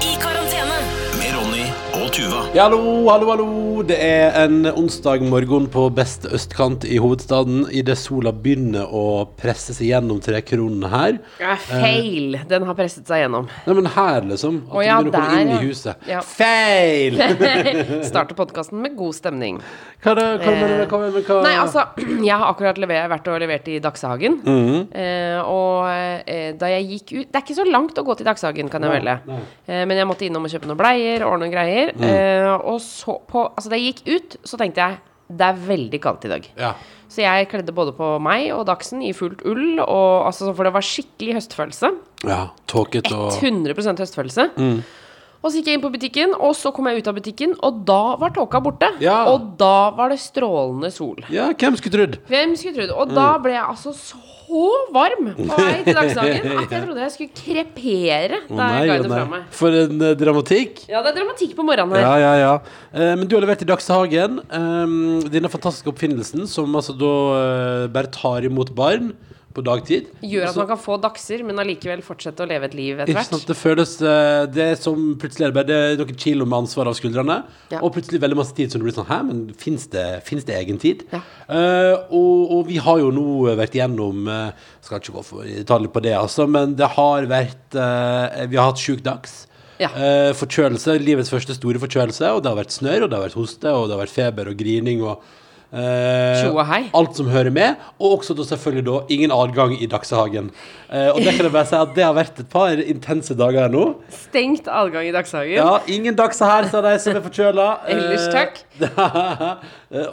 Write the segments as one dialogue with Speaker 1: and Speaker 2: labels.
Speaker 1: I karantene.
Speaker 2: Med Ronny og Tuva.
Speaker 3: Ja, hallo, hallo, hallo. Det er en onsdag morgen på beste østkant i hovedstaden. Idet sola begynner å presse seg gjennom trekronene her.
Speaker 4: Ja, Eh, feil. Den har presset seg gjennom.
Speaker 3: Nei, men her, liksom. At
Speaker 4: Å, ja,
Speaker 3: du begynner å komme
Speaker 4: der,
Speaker 3: inn
Speaker 4: ja.
Speaker 3: i huset.
Speaker 4: Ja.
Speaker 3: Feil!
Speaker 4: Starter podkasten med god stemning.
Speaker 3: Hva er det? Hva mener du? Hva mener du? Hva?
Speaker 4: Nei, altså, jeg har akkurat lever, vært og levert i Dagshagen.
Speaker 3: Mhm.
Speaker 4: eh, og eh, da jeg gikk ut Det er ikke så langt å gå til Dagshagen, kan jeg melde. Eh, men jeg måtte innom og kjøpe noen bleier og noen greier.
Speaker 3: Mm.
Speaker 4: Eh, og så på Altså, da jeg gikk ut, så tenkte jeg det er veldig kaldt i dag.
Speaker 3: Ja.
Speaker 4: Så jeg kledde både på meg og Dagsen i fullt ull, og, altså, for det var skikkelig høstfølelse.
Speaker 3: ja Tåket og Mm.
Speaker 4: 100 høstfølelse. Og så gikk jeg inn på butikken, og så kom jeg ut av butikken, og da var tåka borte.
Speaker 3: Ja.
Speaker 4: Og da var det strålende sol.
Speaker 3: Ja, hvem skulle trodd?
Speaker 4: Hvem skulle trodd? Og
Speaker 3: Mm.
Speaker 4: da ble jeg altså så varm på vei til Dagsdagen at jeg trodde jeg skulle krepere
Speaker 3: Å,
Speaker 4: da jeg
Speaker 3: nei,
Speaker 4: ga
Speaker 3: å,
Speaker 4: det
Speaker 3: nei.
Speaker 4: fra meg.
Speaker 3: For en eh, dramatikk.
Speaker 4: Ja, det er dramatikk på morgenen her.
Speaker 3: Ja, ja, ja. Eh, men du har levert i Dagshagen eh, denne fantastiske oppfinnelsen som altså da eh, bare tar imot barn på dagtid.
Speaker 4: Gjør at
Speaker 3: Altså-
Speaker 4: man kan få dagser, men allikevel fortsette å leve et liv etter
Speaker 3: Ikke
Speaker 4: hvert.
Speaker 3: sant, Det føles eh, Det er som plutselig er det bare det er noen kilo med ansvar av skuldrene,
Speaker 4: Ja.
Speaker 3: og plutselig veldig masse tid som du blir sånn Hæ, men fins det, finnes det egen tid?
Speaker 4: Ja.
Speaker 3: Eh, og, og vi har jo nå vært igjennom eh, Skal ikke gå for i detalj på det, altså, men det har vært eh, Vi har hatt sjuk dags.
Speaker 4: Ja.
Speaker 3: Eh, forkjølelse, livets første store forkjølelse, og det har vært snørr, og det har vært hoste, og det har vært feber og grining og eh,
Speaker 4: Tjo og hei.
Speaker 3: alt som hører med, og også da selvfølgelig da ingen adgang i Dagshagen. Eh, og det kan jeg bare si at det har vært et par intense dager her nå.
Speaker 4: Stengt adgang i Dagshagen.
Speaker 3: Ja, ingen dags her, sa de som er forkjøla.
Speaker 4: Ellers takk.
Speaker 3: Eh,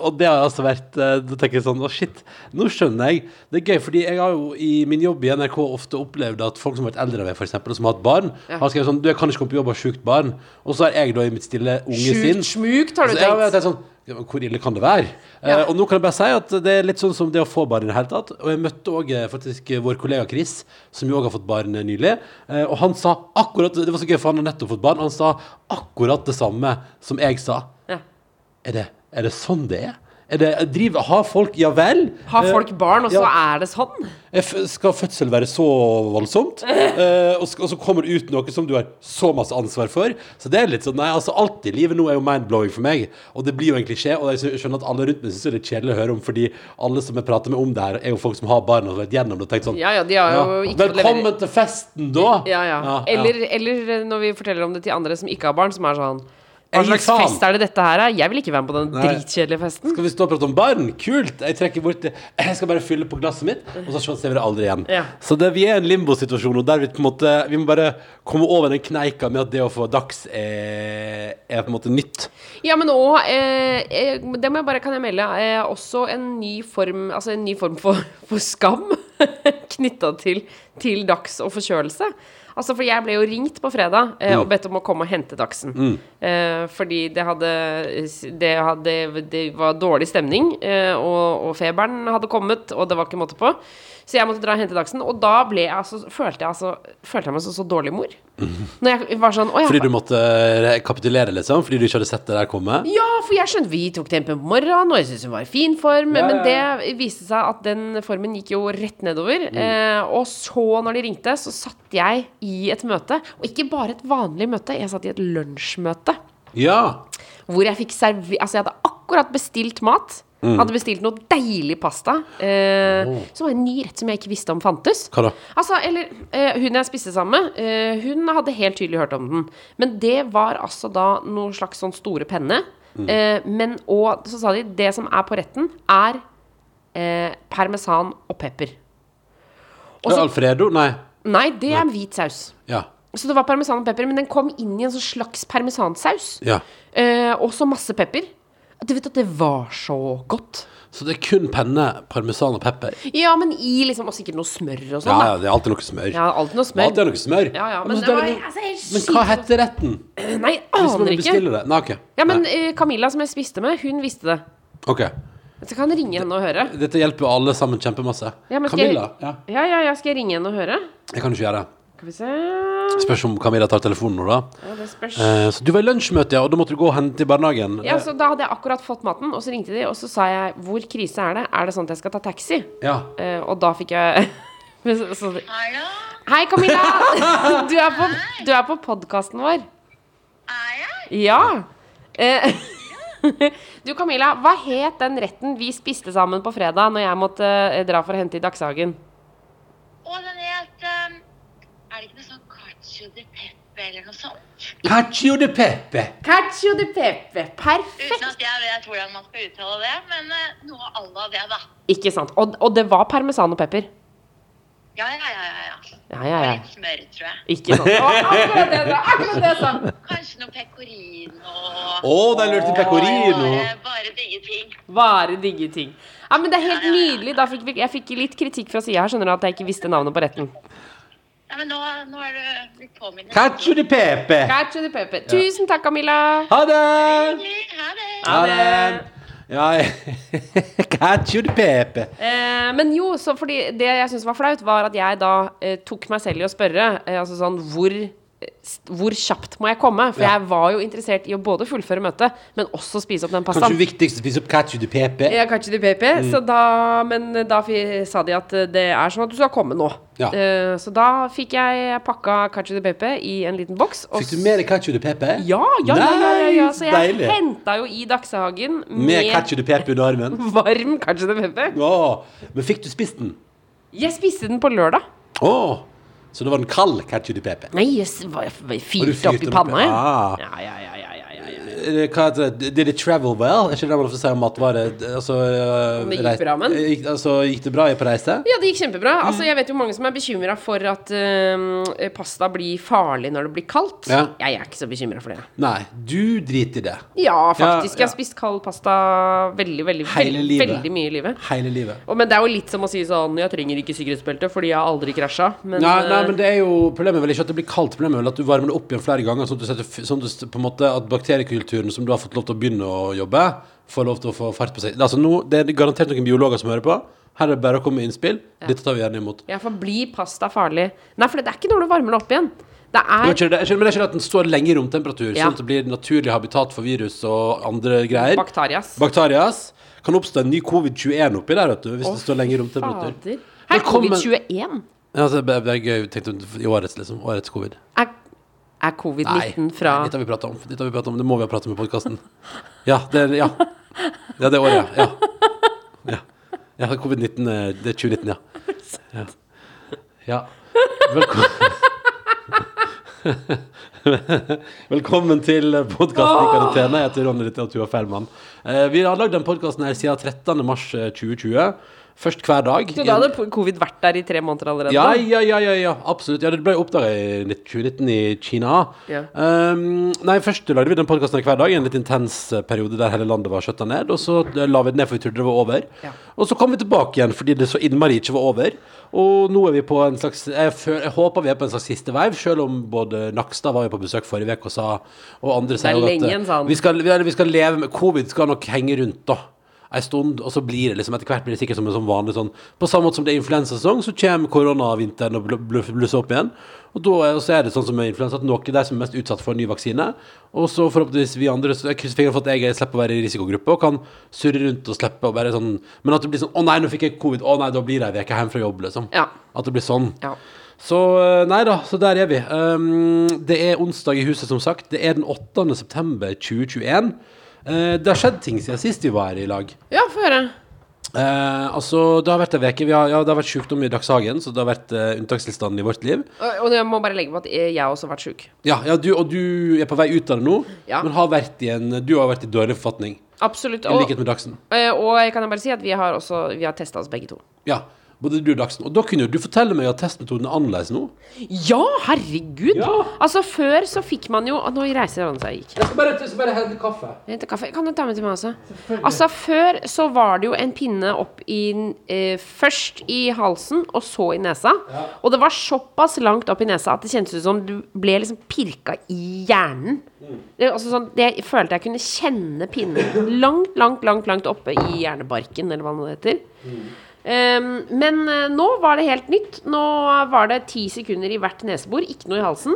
Speaker 3: og det har altså vært eh, Da tenker jeg sånn, å shit, nå skjønner jeg. Det er gøy, fordi jeg har jo i min jobb i NRK ofte opplevd at folk som har vært eldre enn meg, for eksempel, og som har hatt barn,
Speaker 4: Ja.
Speaker 3: har skrevet sånn Du, jeg kan ikke komme på jobb, jeg har sjukt barn. Og så har jeg da i mitt stille unge sinn
Speaker 4: Sjukt smukt, har du
Speaker 3: så jeg har
Speaker 4: tenkt.
Speaker 3: tenkt sånn ja, men Hvor ille kan det være? Eh, og nå kan jeg bare si at det er litt sånn som det å få barn i det hele tatt. Og jeg møtte òg faktisk eh, vår kollega Chris, som jo òg har fått barn eh, nylig. Eh, og han sa akkurat Det var så gøy, for han har nettopp fått barn. Han sa akkurat det samme som jeg sa.
Speaker 4: Ja.
Speaker 3: Er det, er det sånn det er? er det, driver, har folk Ja vel?
Speaker 4: Har folk
Speaker 3: Eh,
Speaker 4: barn, og så
Speaker 3: ja.
Speaker 4: er det sånn?
Speaker 3: Eh, f- Skal fødsel være så voldsomt? Eh, og, skal, og så kommer det ut noe som du har så masse ansvar for. Så det er litt sånn, nei, altså Alt i livet nå er jo mind-blowing for meg. Og det blir jo en klisjé. Og jeg skjønner at alle rundt meg syns det er litt kjedelig å høre om, fordi alle som jeg prater med om det her, er jo folk som har barn og har vært gjennom det og tenkt sånn
Speaker 4: Ja, ja, de har jo ikke fått
Speaker 3: Velkommen
Speaker 4: levere-
Speaker 3: til festen, da!
Speaker 4: Ja, ja. Eller, eller eh, når vi forteller om det til andre som ikke har barn, som er sånn Hva
Speaker 3: Jeg gir
Speaker 4: slags
Speaker 3: faen.
Speaker 4: fest er det dette her er? Jeg vil ikke være med på den
Speaker 3: Nei.
Speaker 4: dritkjedelige festen.
Speaker 3: Skal vi stå og prate om barn? Kult! Jeg trekker bort Jeg skal bare fylle på glasset mitt, og så ser vi det aldri igjen.
Speaker 4: Ja.
Speaker 3: Så det, vi er i en limbosituasjon, og der vi på en måte Vi må bare komme over den kneika med at det å få dags er, er på en måte nytt.
Speaker 4: Ja, men òg eh, eh, Det må jeg bare kan jeg melde. Eh, også en ny form Altså en ny form for, for skam knytta til, til dags og forkjølelse. Altså, for jeg ble jo ringt på fredag eh,
Speaker 3: Mm.
Speaker 4: og bedt om å komme og hente dagsen. Eh, fordi det hadde, det hadde Det var dårlig stemning, eh, og, og feberen hadde kommet, og det var ikke måte på. Så jeg måtte dra og hente dagsen, og da ble jeg altså, følte, jeg, altså, følte jeg meg som så dårlig mor. Når jeg var sånn Å,
Speaker 3: Mm. Fordi
Speaker 4: ja.
Speaker 3: du måtte kapitulere, liksom? Fordi du ikke hadde sett det der komme?
Speaker 4: Ja, for jeg skjønte vi tok tempen på morgenen, og jeg syntes hun var i fin form.
Speaker 3: Ja, ja, ja. Mm.
Speaker 4: Men det viste seg at den formen gikk jo rett nedover. Eh, og så, når de ringte, så satt jeg i et møte. Og ikke bare et vanlig møte, jeg satt i et lunsjmøte.
Speaker 3: Ja!
Speaker 4: Hvor jeg fikk servi... Altså, jeg hadde akkurat bestilt mat.
Speaker 3: Mm.
Speaker 4: Hadde bestilt noe deilig pasta. Eh, Som var en ny rett som jeg ikke visste om fantes.
Speaker 3: Oh. Hva da?
Speaker 4: Altså, eller eh, Hun jeg spiste sammen med, eh, hun hadde helt tydelig hørt om den. Men det var altså da noe slags sånn store penne.
Speaker 3: Mm.
Speaker 4: Eh, men og så sa de det som er på retten, er eh, parmesan og pepper. Og så,
Speaker 3: Alfredo? Nei.
Speaker 4: nei, det er hvit saus.
Speaker 3: Ja.
Speaker 4: Så det var parmesan og pepper, men den kom inn i en sånn slags parmesansaus.
Speaker 3: ja.
Speaker 4: Eh, og så masse pepper. Du vet at det var så godt.
Speaker 3: Så det er kun penne, parmesan og pepper?
Speaker 4: Ja, men i liksom Og sikkert noe smør og
Speaker 3: Ja,
Speaker 4: sånn.
Speaker 3: ja,
Speaker 4: da.
Speaker 3: det er alltid noe smør.
Speaker 4: Ja, alltid noe smør.
Speaker 3: Alltid noe smør.
Speaker 4: Ja, ja, men
Speaker 3: så
Speaker 4: det
Speaker 3: er
Speaker 4: var-
Speaker 3: noe-
Speaker 4: altså, helt
Speaker 3: men hva
Speaker 4: sykt.
Speaker 3: heter retten?
Speaker 4: Nei,
Speaker 3: Hvis man
Speaker 4: aner
Speaker 3: vil
Speaker 4: ikke.
Speaker 3: bestille det? Nei, ok.
Speaker 4: Ja, men
Speaker 3: Nei.
Speaker 4: eh, Camilla, som jeg spiste med, hun visste det.
Speaker 3: Ok.
Speaker 4: Så kan jeg ringe henne og høre.
Speaker 3: Dette hjelper jo alle sammen kjempemasse.
Speaker 4: Ja, men skal
Speaker 3: Camilla,
Speaker 4: jeg-
Speaker 3: ja.
Speaker 4: Ja, ja, ja, skal jeg ringe henne og høre?
Speaker 3: jeg kan ikke gjøre det.
Speaker 4: Skal vi se Ja,
Speaker 3: Spørs om Camilla tar telefonen nå, da.
Speaker 4: det spørs.
Speaker 3: Eh, så du var i lunsjmøte, ja, og da måtte du gå og hente i barnehagen. Eh,
Speaker 4: Ja, så Da hadde jeg akkurat fått maten, og så ringte de, og så sa jeg 'Hvor krise er det? Er det sånn at jeg skal ta taxi?'
Speaker 3: Ja.
Speaker 4: Eh, og da fikk jeg Men så, så,
Speaker 1: Hallo?
Speaker 4: Hei, Camilla! Du er på, du er på podkasten vår.
Speaker 1: Er jeg?
Speaker 4: Ja. Eh, du, Camilla, hva het den retten vi spiste sammen på fredag når jeg måtte eh, dra for å hente i Dagshagen?
Speaker 1: Og den het um, Er det ikke noe sånn cacio de pepe eller noe sånt?
Speaker 3: Cacio de pepe.
Speaker 4: Cacio de pepe. Perfekt.
Speaker 1: Uten at jeg vet hvordan man skal uttale det, men eh, noe à la det, da.
Speaker 4: Ikke sant. Og, og det var parmesan og pepper.
Speaker 1: Ja, ja, ja. ja, ja.
Speaker 4: Ja, ja,
Speaker 1: Og
Speaker 4: ja.
Speaker 1: litt smør, tror jeg.
Speaker 4: Ikke sant. Det var akkurat det, det var akkurat det jeg sa.
Speaker 1: Kanskje noe pecorino. og-
Speaker 3: Å, der lurte pecorino.
Speaker 1: Bare, bare digge ting.
Speaker 4: Bare digge ting. Ja, men Det er helt
Speaker 1: Ja, ja, ja.
Speaker 4: nydelig. Da fikk vi, jeg fikk litt kritikk fra sida her, skjønner du, at jeg ikke visste navnet på retten.
Speaker 1: Ja, men nå, nå er du blitt påminnet.
Speaker 3: Cacio de pepe.
Speaker 4: Cacio de pepe. Tusen takk, Camilla.
Speaker 3: Ha det!
Speaker 1: Ha det.
Speaker 3: Ha det! Ja, Cacio de pepe.
Speaker 4: Eh, men jo, så fordi det jeg syntes var flaut, var at jeg da eh, tok meg selv i å spørre eh, altså sånn, hvor, eh, st- hvor kjapt må jeg komme? For
Speaker 3: Ja.
Speaker 4: jeg var jo interessert i å både fullføre møtet, men også spise opp den
Speaker 3: Kanskje Mm.
Speaker 4: pastaen.
Speaker 3: viktigst å spise opp cacio de pepe.
Speaker 4: Ja, kanskje de PP, så da, men da fi- sa de at eh, det er sånn at du skal komme nå.
Speaker 3: Ja.
Speaker 4: Eh, så da fikk jeg pakka Cacio de Pepe i en liten boks. og
Speaker 3: Fikk du
Speaker 4: s-
Speaker 3: mer cacio de pepe?
Speaker 4: Ja, ja, ja, ja, ja, ja. Så jeg
Speaker 3: Deilig.
Speaker 4: henta jo i Dagshagen
Speaker 3: Med
Speaker 4: med,
Speaker 3: cacio de pepe under armen?
Speaker 4: Mm. varm Cacio de Pepe.
Speaker 3: Å, men fikk du spist den?
Speaker 4: Jeg spiste den på lørdag.
Speaker 3: Å, så det var en kald cacio de pepe.
Speaker 4: Nei, jeg s- var-
Speaker 3: Og du
Speaker 4: var- fyrte
Speaker 3: fyrte
Speaker 4: opp i
Speaker 3: den
Speaker 4: panna,
Speaker 3: opp,
Speaker 4: jeg.
Speaker 3: ah.
Speaker 4: Ja, ja, ja, ja, ja, ja, ja.
Speaker 3: Eh, Hva heter det? Did it travel well? Er ikke det man ofte sier om matvarer? Altså, eh,
Speaker 4: Om det gikk
Speaker 3: rei-
Speaker 4: bra, men?
Speaker 3: Gikk, altså, gikk det bra på reise?
Speaker 4: Ja, det gikk kjempebra. Altså, jeg vet jo mange som er bekymra for at eh, pasta blir farlig når det blir kaldt.
Speaker 3: Ja.
Speaker 4: Jeg er ikke så bekymra for det.
Speaker 3: Nei, du driter i det.
Speaker 4: Ja, faktisk.
Speaker 3: Ja, ja.
Speaker 4: Jeg har spist kald pasta veldig, veldig,
Speaker 3: Hele
Speaker 4: veldig,
Speaker 3: livet.
Speaker 4: veldig mye i livet.
Speaker 3: Hele livet.
Speaker 4: Og, men det er jo litt som å si sånn Jeg trenger ikke sikkerhetsbelte fordi jeg har aldri krasja. Men,
Speaker 3: Nei, nei,
Speaker 4: eh,
Speaker 3: men det er jo Problemet er vel ikke at det blir kaldt, problemet er vel at du varmer det opp igjen flere ganger. Sånn at, du setter, f- sånn at, du s- på en måte, at bakteriekulturen som du har fått lov til å begynne å jobbe, får lov til å få fart på seg. Altså, nå, det er garantert noen biologer som hører på. Her er det bare å komme med innspill. Dette tar vi gjerne imot.
Speaker 4: eh, ja, for blir pasta farlig? Nei, for det er ikke når du varmer det opp igjen. Det
Speaker 3: Det
Speaker 4: er
Speaker 3: er ikke det, men det er ikke det at den står lenge i romtemperatur,
Speaker 4: Ja.
Speaker 3: sånn at det blir naturlig habitat for virus og andre greier.
Speaker 4: Bakterias.
Speaker 3: Bakterias. Kan oppstå en ny covid-21 oppi der, vet du, hvis det står lenge i romtemperatur.
Speaker 4: Fader. Her er
Speaker 3: Velkommen.
Speaker 4: covid-21.
Speaker 3: Ja, altså, det er det er gøy tenkte jeg, i årets, liksom. Årets covid.
Speaker 4: Er, er covid-19 fra
Speaker 3: Nei, dette har vi pratet om. Dette har vi pratet om. Det må vi ha pratet om i podkasten. Ja, det er ja. ja, det er året, ja. Ja, ja. ja Covid-19 eh, Det er 2019, ja. Ja. ja. Velkommen. Velkommen til podkasten i karantene. Jeg heter Ronny Ritter og Tuva Feilmann. Eh, Vi har lagd den podkasten her siden 13. mars eh, 2020. Først hver dag.
Speaker 4: Så da hadde covid vært der i tre måneder allerede?
Speaker 3: Ja, ja, ja, ja, ja, absolutt. Ja, det ble oppdaga i 2019 i Kina.
Speaker 4: Ja.
Speaker 3: Um, nei, Først lagde vi den podkasten hver dag i en litt intens eh, periode der hele landet var skjøtta ned. Og så eh, la vi den ned for vi trodde det var over.
Speaker 4: Ja.
Speaker 3: Og så kom vi tilbake igjen fordi det så innmari ikke var over. Og nå er vi på en slags Jeg, føl, jeg håper vi er på en slags siste veiv, selv om både Nakstad var jo på besøk forrige uke og sa Og andre sier jo at
Speaker 4: lenge
Speaker 3: eh,
Speaker 4: igjen, sa han.
Speaker 3: vi skal, vi, eller vi skal leve med Covid skal nok henge rundt, da. En stund, og så blir det liksom etter hvert blir det sikkert som en sånn vanlig sånn På samme måte som det er influensasesong, så kommer koronavinteren og bl- bl- blusser opp igjen. Og da er- og så er det sånn som med influensa at noen er de som er mest utsatt for en ny vaksine. Og så forhåpentligvis vi andre så jeg krysser fingrene for at jeg slipper å være i risikogruppe og kan surre rundt og slippe å være sånn Men at det blir sånn Å nei, nå fikk jeg covid. Å nei, da blir jeg ei uke hjemme fra jobb, liksom.
Speaker 4: Ja.
Speaker 3: At det blir sånn.
Speaker 4: Ja.
Speaker 3: Så eh, nei da, så der er vi. Um, det er onsdag i huset, som sagt. Det er den 8. september 2021. Eh, det har skjedd ting siden sist vi var her i lag.
Speaker 4: ja få høre.
Speaker 3: Eh, altså, Det har vært en veke, vi har, ja, det har vært sjukdom i Dagshagen, så det har vært eh, unntakstilstanden i vårt liv.
Speaker 4: Og- Og jeg må bare legge på at jeg har også vært sjuk.
Speaker 3: Ja, ja du, Og du er på vei ut av det nå,
Speaker 4: Ja.
Speaker 3: men har vært i en, du har vært i dårlig forfatning.
Speaker 4: Absolutt.
Speaker 3: I
Speaker 4: Og,
Speaker 3: likhet med Dagsen.
Speaker 4: eh, og jeg kan jo bare si at vi har også Vi har testa oss begge to.
Speaker 3: Ja, både du og Dagsen. Og da kunne jo du fortelle meg at testmetoden er annerledes nå.
Speaker 4: Ja, herregud!
Speaker 3: Ja.
Speaker 4: Altså, før så fikk man jo Nå reiser han seg. Gikk.
Speaker 3: Jeg skal bare, jeg skal bare hente kaffe.
Speaker 4: Jeg henter kaffe. Kan du ta med til meg også? Altså, før så var det jo en pinne opp i eh, Først i halsen, og så i nesa. Og det var såpass langt opp i nesa at det kjentes ut som du ble liksom pirka i hjernen. Det, altså, sånn, det, jeg følte jeg kunne kjenne pinnen langt, langt, langt langt oppe i hjernebarken, eller hva det heter. Ehm, men eh, nå var det helt nytt. Nå var det ti sekunder i hvert nesebor, ikke noe i halsen.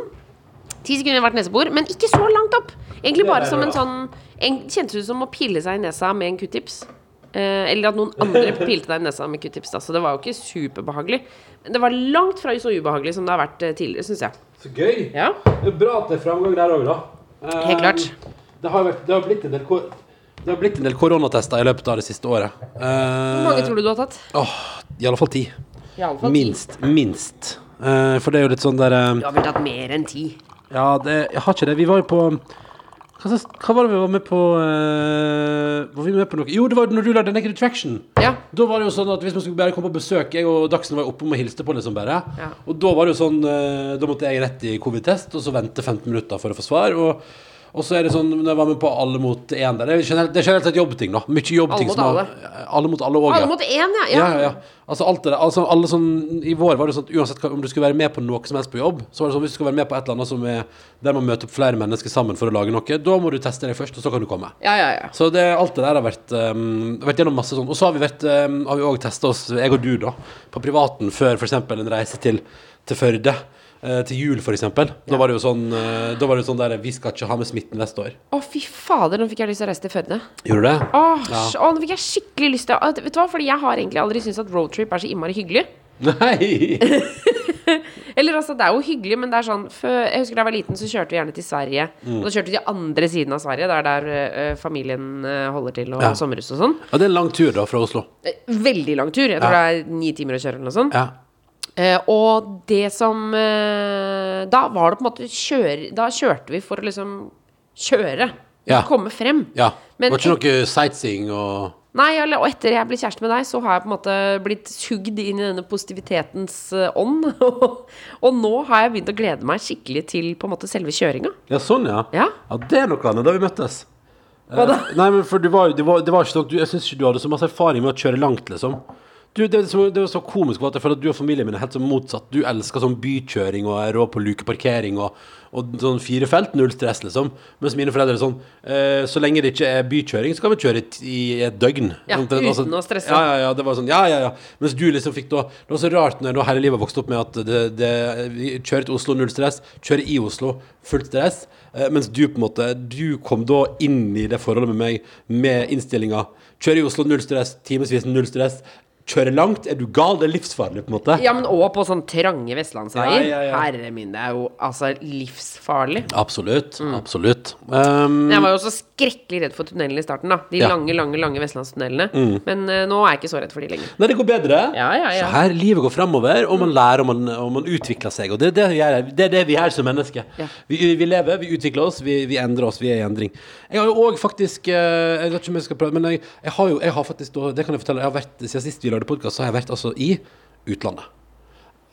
Speaker 4: Ti sekunder i hvert nesebor, men ikke så langt opp. Egentlig bare
Speaker 3: er
Speaker 4: som en
Speaker 3: bra.
Speaker 4: sånn en, Kjentes ut som å pille seg i nesa med en q-tips. Eh, eller at noen andre pilte deg i nesa med q-tips. da, Så det var jo ikke superbehagelig. Men det var langt fra så ubehagelig som det har vært eh, tidligere, syns jeg.
Speaker 3: Så gøy.
Speaker 4: Ja.
Speaker 3: Det er bra at det er framgang der òg, da. Eh,
Speaker 4: Helt klart.
Speaker 3: Det har, vært, det, har blitt en del, kor- det har blitt en del koronatester i løpet av det siste året. Ehm,
Speaker 4: Hvor mange
Speaker 3: Eh,
Speaker 4: tror du du har tatt?
Speaker 3: I alle fall ti.
Speaker 4: I alle fall ti.
Speaker 3: Minst. Minst. Eh, for det er jo litt sånn der eh,
Speaker 4: Du har vel tatt mer enn ti?
Speaker 3: Ja, det, jeg har ikke det. Vi var jo på hva, slags- hva var det vi var med på eh, Var vi med på noe? Jo, det var når du lagde Naked Attraction.
Speaker 4: Ja.
Speaker 3: Da var det jo sånn at Hvis man skulle bare komme på besøk Jeg og Dagsen var jo oppe og hilste på, liksom bare.
Speaker 4: Ja.
Speaker 3: Og da var det jo sånn eh, Da måtte jeg rett i covid-test, og så vente 15 minutter for å få svar. Og, og så er det sånn Når jeg var med på Alle mot én der Det er generelt, det er generelt sett jobbting, da. Mye jobbting.
Speaker 4: Alle mot
Speaker 3: som har- alle mot alle òg,
Speaker 4: Alle mot én, ja.
Speaker 3: ja, ja, ja. Altså alt det der. Altså, alle sånn, I vår var det sånn at uansett hva- om du skulle være med på noe som helst på jobb, så var det sånn hvis du skal være med på et eller annet som er der man møter opp flere mennesker sammen for å lage noe, da må du teste deg først, og så kan du komme.
Speaker 4: ja, ja, ja.
Speaker 3: Så det, alt det der har vært, um, vært gjennom masse sånn. Og så har vi vært, um, har vi òg testa oss, jeg og du, da, på privaten før f.eks. en reise til, til Førde. eh, til jul, f.eks. eksempel Da var det jo sånn eh, Da var det jo sånn der Vi skal ikke ha med smitten neste år.
Speaker 4: Å, fy fader, nå fikk jeg lyst til å reise til Førde.
Speaker 3: Gjorde du det?
Speaker 4: Åh,
Speaker 3: Ja.
Speaker 4: sj- Å, nå fikk jeg skikkelig lyst til å Vet du hva, fordi jeg har egentlig aldri syntes at roadtrip er så innmari hyggelig.
Speaker 3: Nei!
Speaker 4: Eller altså, det er jo hyggelig, men det er sånn før, Jeg husker da jeg var liten, så kjørte vi gjerne til Sverige.
Speaker 3: Mm.
Speaker 4: Og da kjørte vi til andre siden av Sverige, der, der eh, familien eh, holder til, og
Speaker 3: Ja.
Speaker 4: sommerhus og sånn.
Speaker 3: Ja, det er en lang tur, da, fra Oslo.
Speaker 4: Eh, Veldig lang tur. Jeg tror det er ni timer å kjøre eller noe sånt.
Speaker 3: Ja.
Speaker 4: Eh, og det som eh, Da var det på en måte kjøre Da kjørte vi for å liksom kjøre.
Speaker 3: Ja.
Speaker 4: Komme frem.
Speaker 3: ja.
Speaker 4: Men
Speaker 3: var ikke noe sightseeing og
Speaker 4: Nei, eller, og etter jeg ble kjæreste med deg, så har jeg på en måte blitt sugd inn i denne positivitetens eh, ånd. og nå har jeg begynt å glede meg skikkelig til på en måte selve kjøringa.
Speaker 3: Ja, sånn, ja.
Speaker 4: Ja.
Speaker 3: det er noe annet da vi møttes.
Speaker 4: Hva da?
Speaker 3: Eh, Nei, men for du var, det, var, det var ikke sånn at du, Jeg syns ikke du hadde så masse erfaring med å kjøre langt, liksom. Du, det, som- det var så komisk var at jeg føler at du og familien min er helt sånn motsatt. Du elsker sånn bykjøring og er rå på lukeparkering og, og sånn fire felt, null stress, liksom. Mens mine foreldre er sånn eh, Så lenge det ikke er bykjøring, så kan vi kjøre i, t- i et døgn. Sånn
Speaker 4: Ja,
Speaker 3: Omtrent,
Speaker 4: uten å stresse.
Speaker 3: Ja, ja, ja, det var sånn, ja, ja, ja. Mens du liksom fikk da Det var så rart når jeg da hele livet vokste opp med at det, det, vi kjører til Oslo, null stress. Kjører i Oslo, fullt stress. Eh, mens du på en måte Du kom da inn i det forholdet med meg med innstillinga Kjører i Oslo, null stress. Timevis, null stress. Kjører langt. Er du gal? Det er livsfarlig, på en måte.
Speaker 4: Ja, men òg på sånn trange vestlandsveier.
Speaker 3: Ja, ja, ja.
Speaker 4: Herre min, det er jo altså livsfarlig.
Speaker 3: Absolutt. Absolutt. Um,
Speaker 4: Men Jeg var jo også skrekkelig redd for tunnelene i starten, da. De
Speaker 3: Ja. Mm.
Speaker 4: lange, lange lange vestlandstunnelene. Men eh, nå er jeg ikke så redd for de lenger.
Speaker 3: Nei, det går bedre.
Speaker 4: Ja, ja, ja.
Speaker 3: Så her, livet går fremover, og man lærer, og man, og man utvikler seg. Og det, er det, vi gjør, det er det vi gjør som mennesker.
Speaker 4: Ja.
Speaker 3: Vi, vi lever, vi utvikler oss, vi, vi endrer oss, vi er i endring. Jeg har jo òg faktisk eh, Jeg vet ikke om jeg skal prøve, men jeg, jeg har jo jeg har faktisk, da- det kan jeg fortelle, jeg har vært, siden sist vi lagde podkast, så har jeg vært altså i utlandet.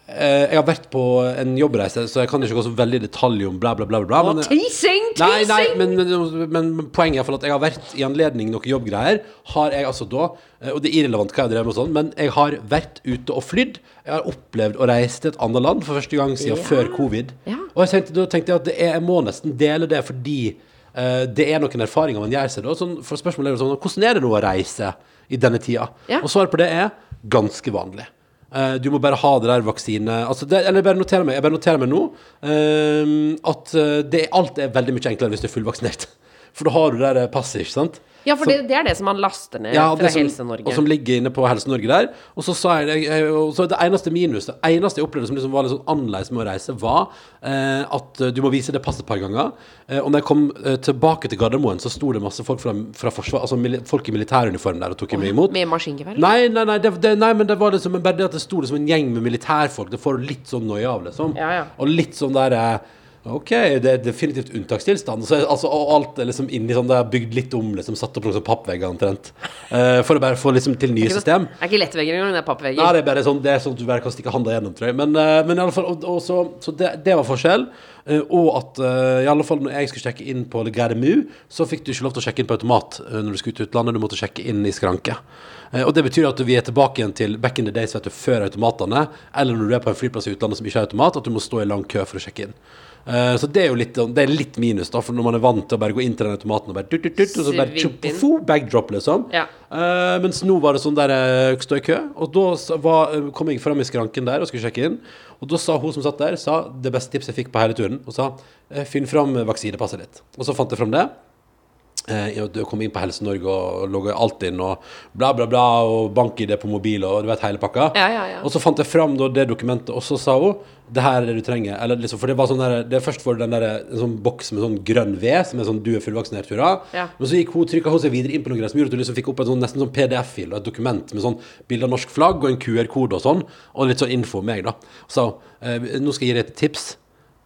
Speaker 3: Eh, Jeg har vært på en jobbreise, så jeg kan ikke gå så veldig i detalj om bla, bla, bla. bla, bla men-
Speaker 4: Teasing!
Speaker 3: Nei,
Speaker 4: Teasing!
Speaker 3: nei men, men, men poenget er i hvert fall at jeg har vært i anledning noen jobbgreier. Har jeg altså da eh, Og det er irrelevant hva jeg drev med, og sånn men jeg har vært ute og flydd. Jeg har opplevd å reise til et annet land for første gang siden
Speaker 4: Ja.
Speaker 3: før covid.
Speaker 4: Ja.
Speaker 3: Og jeg tenkte, da tenkte jeg at det er, jeg må nesten dele det fordi eh, det er noen erfaringer man gjør seg da. Sånn, for spørsmålet er jo sånn Hvordan er det nå å reise i denne tida?
Speaker 4: Ja.
Speaker 3: Og svaret på det er ganske vanlig. Eh, du må bare ha det der vaksine altså det, Eller jeg bare noterer meg, jeg bare noterer meg nå eh, at eh, det, alt er veldig mye enklere hvis du er fullvaksinert. For da har du det der eh, passet, ikke sant?
Speaker 4: Ja, for det, det er det som man laster ned
Speaker 3: Ja, og
Speaker 4: fra
Speaker 3: det som-
Speaker 4: Helse-Norge.
Speaker 3: Og som ligger inne på Helse Norge der. Og så sa jeg, det- jeg og så det eneste minus, det eneste jeg opplevde som liksom var litt sånn annerledes med å reise, var eh, at eh, du må vise det passet et par ganger. Eh, og når jeg kom eh, tilbake til Gardermoen, så sto det masse folk fra, fra forsvar, altså mili- folk i militæruniform der og tok meg imot.
Speaker 4: Med maskingevær?
Speaker 3: Nei, nei, nei, det, det, nei, men det var liksom bare det at det sto liksom en gjeng med militærfolk. Det får du litt sånn noia av, liksom.
Speaker 4: Ja, ja.
Speaker 3: Og litt sånn der eh, OK, det er definitivt unntakstilstand. Så, altså, og alt er liksom inni sånn Det er bygd litt om, liksom. Satt opp noen sånne pappvegger omtrent. Eh, for å bare få liksom til nye
Speaker 4: Det er ikke noe-
Speaker 3: system.
Speaker 4: Det er ikke lettvegger engang, det er pappvegger.
Speaker 3: Nei, det er bare sånn Det er sånn at du bare kan stikke handa gjennom, tror jeg. Men, eh, men i alle fall, og, og så, så det, det var forskjell. Eh, og at eh, i alle fall når jeg skulle sjekke inn på Gardermu, så fikk du ikke lov til å sjekke inn på automat eh, når du skulle til utlandet. Du måtte sjekke inn i skranke. Eh, og det betyr at vi er tilbake igjen til back in the days vet du, før automatene, eller når du er på en flyplass i utlandet som ikke har automat, at du må stå i lang kø for å sjekke inn. Eh, så det er jo litt, det er litt minus, da, for når man er vant til å bare gå inn til den automaten og bare tut, tut, tut, og så bare
Speaker 4: Svipp
Speaker 3: tjup,
Speaker 4: inn.
Speaker 3: fo, backdrop, liksom.
Speaker 4: Ja.
Speaker 3: Eh, mens nå var det sånn der eh, stå i kø, og da sa- var, eh, kom jeg fram i skranken der og skulle sjekke inn. Og da sa hun som satt der, sa det beste tipset jeg fikk på hele turen, og sa eh, finn fram vaksinepasset ditt. Og så fant jeg fram det. Eh, ja, du kom inn på Helse Norge og logga alt inn og bla, bla, bla, og bank-ID på mobil og du vet hele pakka.
Speaker 4: Ja, ja, ja.
Speaker 3: Og så fant jeg fram da, det dokumentet, og så sa hun det her er det du trenger. Eller, liksom, for det var sånn der, det Først får du den der, en sånn boks med sånn grønn ved, som er sånn du er fullvaksinert, hurra.
Speaker 4: Ja.
Speaker 3: Men så gikk hun, trykka hun seg videre inn på noe greier som gjorde at du liksom fikk opp en sånn, nesten sånn PDF-fil og et dokument med sånn bilde av norsk flagg og en QR-kode og sånn, og litt sånn info om meg, da. Og sa hun eh, nå skal jeg gi deg et tips.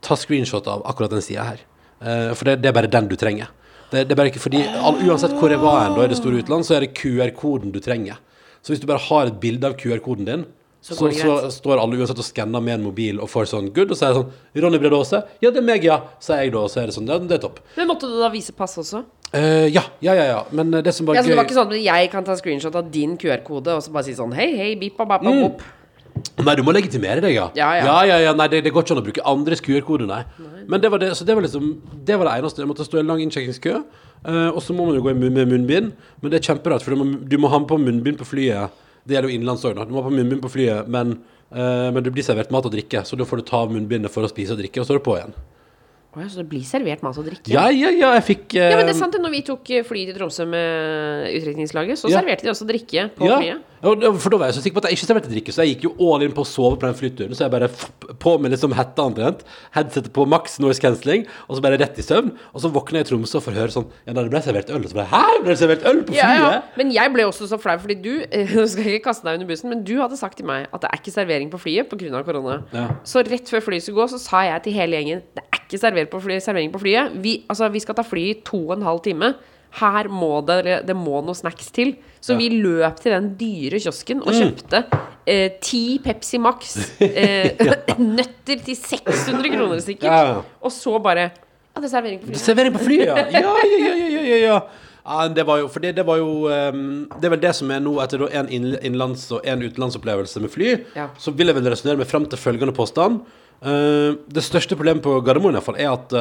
Speaker 3: Ta screenshot av akkurat den sida her. Eh, for det, det er bare den du trenger. Det, det er bare ikke fordi all, Uansett hvor jeg var hen, da, i det store utland, så er det QR-koden du trenger. Så hvis du bare har et bilde av QR-koden din, så,
Speaker 4: går
Speaker 3: så,
Speaker 4: det
Speaker 3: står alle uansett og skanner med en mobil og får sånn good, og så er det sånn Ronny Brede Aase? Ja, det er meg, ja, sier jeg da, og så er det sånn, ja, det er topp.
Speaker 4: Men måtte du da vise pass også?
Speaker 3: Eh, ja, ja, ja, ja. Men eh, det som var
Speaker 4: Ja, så det var
Speaker 3: gøy
Speaker 4: ikke sånn at jeg kan ta screenshot av din QR-kode og så bare si sånn hei, hei, bip, bap, bap,
Speaker 3: Mm.
Speaker 4: bop.
Speaker 3: Nei, du må legitimere deg, ja.
Speaker 4: sånn- Ja, ja.
Speaker 3: ja, ja, ja. Nei, det, det går ikke an å bruke andres QR-kode, nei. Men det var det, så det var liksom Det var det eneste. Jeg måtte stå i en lang innsjekkingskø. eh, og så må man jo gå i mun- med munnbind, men det er kjemperart, for du må, du må ha på munnbind på flyet. Det gjelder jo innenlands òg, da. Du må ha på munnbind på flyet, men, eh, men du blir servert mat og drikke, så da får du ta av munnbindet for å spise og drikke, og så er det på igjen.
Speaker 4: Å ja, så det blir servert mat og drikke?
Speaker 3: Ja, ja, ja, jeg fikk eh,
Speaker 4: Ja, men det er sant det. Når vi tok eh, fly til Tromsø med utrykningslaget, så
Speaker 3: Ja.
Speaker 4: serverte de også drikke på
Speaker 3: ja.
Speaker 4: flyet.
Speaker 3: Ja, og- for da var jeg så sikker på at jeg ikke serverte drikke, så jeg gikk jo all in på å sove på den flyturen. Så jeg bare f- på med liksom hetta omtrent, headsetet på maks noise cancelling, og så bare rett i søvn. Og så våkner jeg i Tromsø og får høre sånn Ja, da det ble servert øl. Og så bare Hæ, ble det servert øl på flyet?
Speaker 4: Ja, ja. Men jeg ble også så flau, fordi du eh, Nå skal jeg ikke kaste deg under bussen, men du hadde sagt til meg at det er ikke servering på flyet pga. korona.
Speaker 3: Ja.
Speaker 4: Så rett før flyet skulle gå, så sa jeg til hele gjengen det er ikke servering på flyet. Servering på flyet. Vi, altså, vi skal ta fly i to og en halv time. Her må det, det må noe snacks til. Så vi løp til den dyre kiosken og
Speaker 3: Mm.
Speaker 4: kjøpte eh, ti Pepsi Max. Eh, Nøtter til 600 kroner sikkert.
Speaker 3: Ja.
Speaker 4: Og så bare Ja, det er servering på flyet.
Speaker 3: Servering på flyet, ja. Ja, ja, ja, ja, ja, ja, ja. Ja, det var jo, for det, det var jo ehm, Det er vel det som er nå, etter da en innl- innenlands- og en utenlandsopplevelse med fly,
Speaker 4: Ja.
Speaker 3: så vil jeg vel resonnere meg fram til følgende påstand. Eh, det største problemet på Gardermoen i hvert fall er at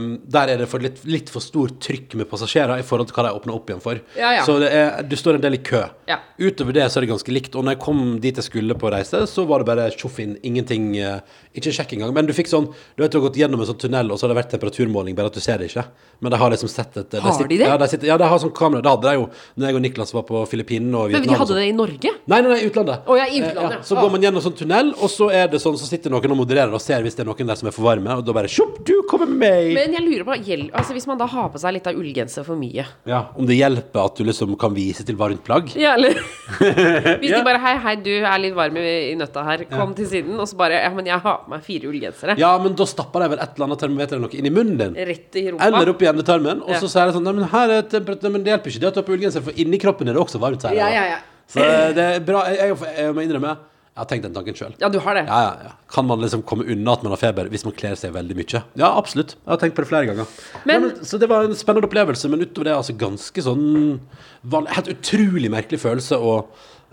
Speaker 3: ehm, der er det for litt, litt for stort trykk med passasjerer i forhold til hva de åpner opp igjen for.
Speaker 4: Ja, ja.
Speaker 3: Så det er, du står en del i kø.
Speaker 4: Ja.
Speaker 3: Utover det så er det ganske likt. Og når jeg kom dit jeg skulle på reise, så var det bare tjoff inn. Ingenting eh, Ikke sjekk engang. Men du fikk sånn Du vet du har gått gjennom en sånn tunnel, og så har det vært temperaturmåling, bare at du ser det ikke. Men de har liksom sett et
Speaker 4: Har
Speaker 3: sitter-
Speaker 4: de det?
Speaker 3: Ja, de, sitter, ja, de har sånn kamera. Det hadde de jo Når jeg og Niklas var på Filippinene og
Speaker 4: Men
Speaker 3: Vietnam.
Speaker 4: de
Speaker 3: og sånn.
Speaker 4: hadde det i Norge?
Speaker 3: Nei, nei, nei, utlandet.
Speaker 4: Å, ja, i utlandet. Ah.
Speaker 3: Eh, Så
Speaker 4: Å.
Speaker 3: går man gjennom sånn tunnel, og så er det sånn, så sitter noen og modererer og ser hvis det er noen der som er for varme, og da bare Tjopp, du kommer med meg!
Speaker 4: Men jeg lurer på, gjel- altså hvis man da har på seg litt av ullgenser for mye
Speaker 3: Ja, Om det hjelper at du liksom kan vise til varmt plagg?
Speaker 4: Ja, eller Hvis de bare Hei, hei, du er litt varm i i nøtta her, kom til siden. Og så bare Ja, men jeg har på meg fire ullgensere.
Speaker 3: Ja, men da stapper de vel et eller annet termometer eller noe inn i munnen din.
Speaker 4: Rett i rumpa.
Speaker 3: Eller opp i endetarmen, og
Speaker 4: Ja.
Speaker 3: så sier de sånn Nei, men her er temperaturen Men det hjelper ikke, det at du har på ullgenser, for inni kroppen er det også varmt, sier de
Speaker 4: Ja,
Speaker 3: da.
Speaker 4: ja, ja.
Speaker 3: Så eh, det er bra. Jeg, jeg, jeg må innrømme, jeg har tenkt den tanken sjøl.
Speaker 4: Ja, du har det.
Speaker 3: Ja, ja, ja. Kan man liksom komme unna at man har feber hvis man kler seg veldig mye? Ja, absolutt. Jeg har tenkt på det flere ganger.
Speaker 4: Men-
Speaker 3: Nei, men, så det var en spennende opplevelse, men utover det altså ganske sånn van- Helt utrolig merkelig følelse å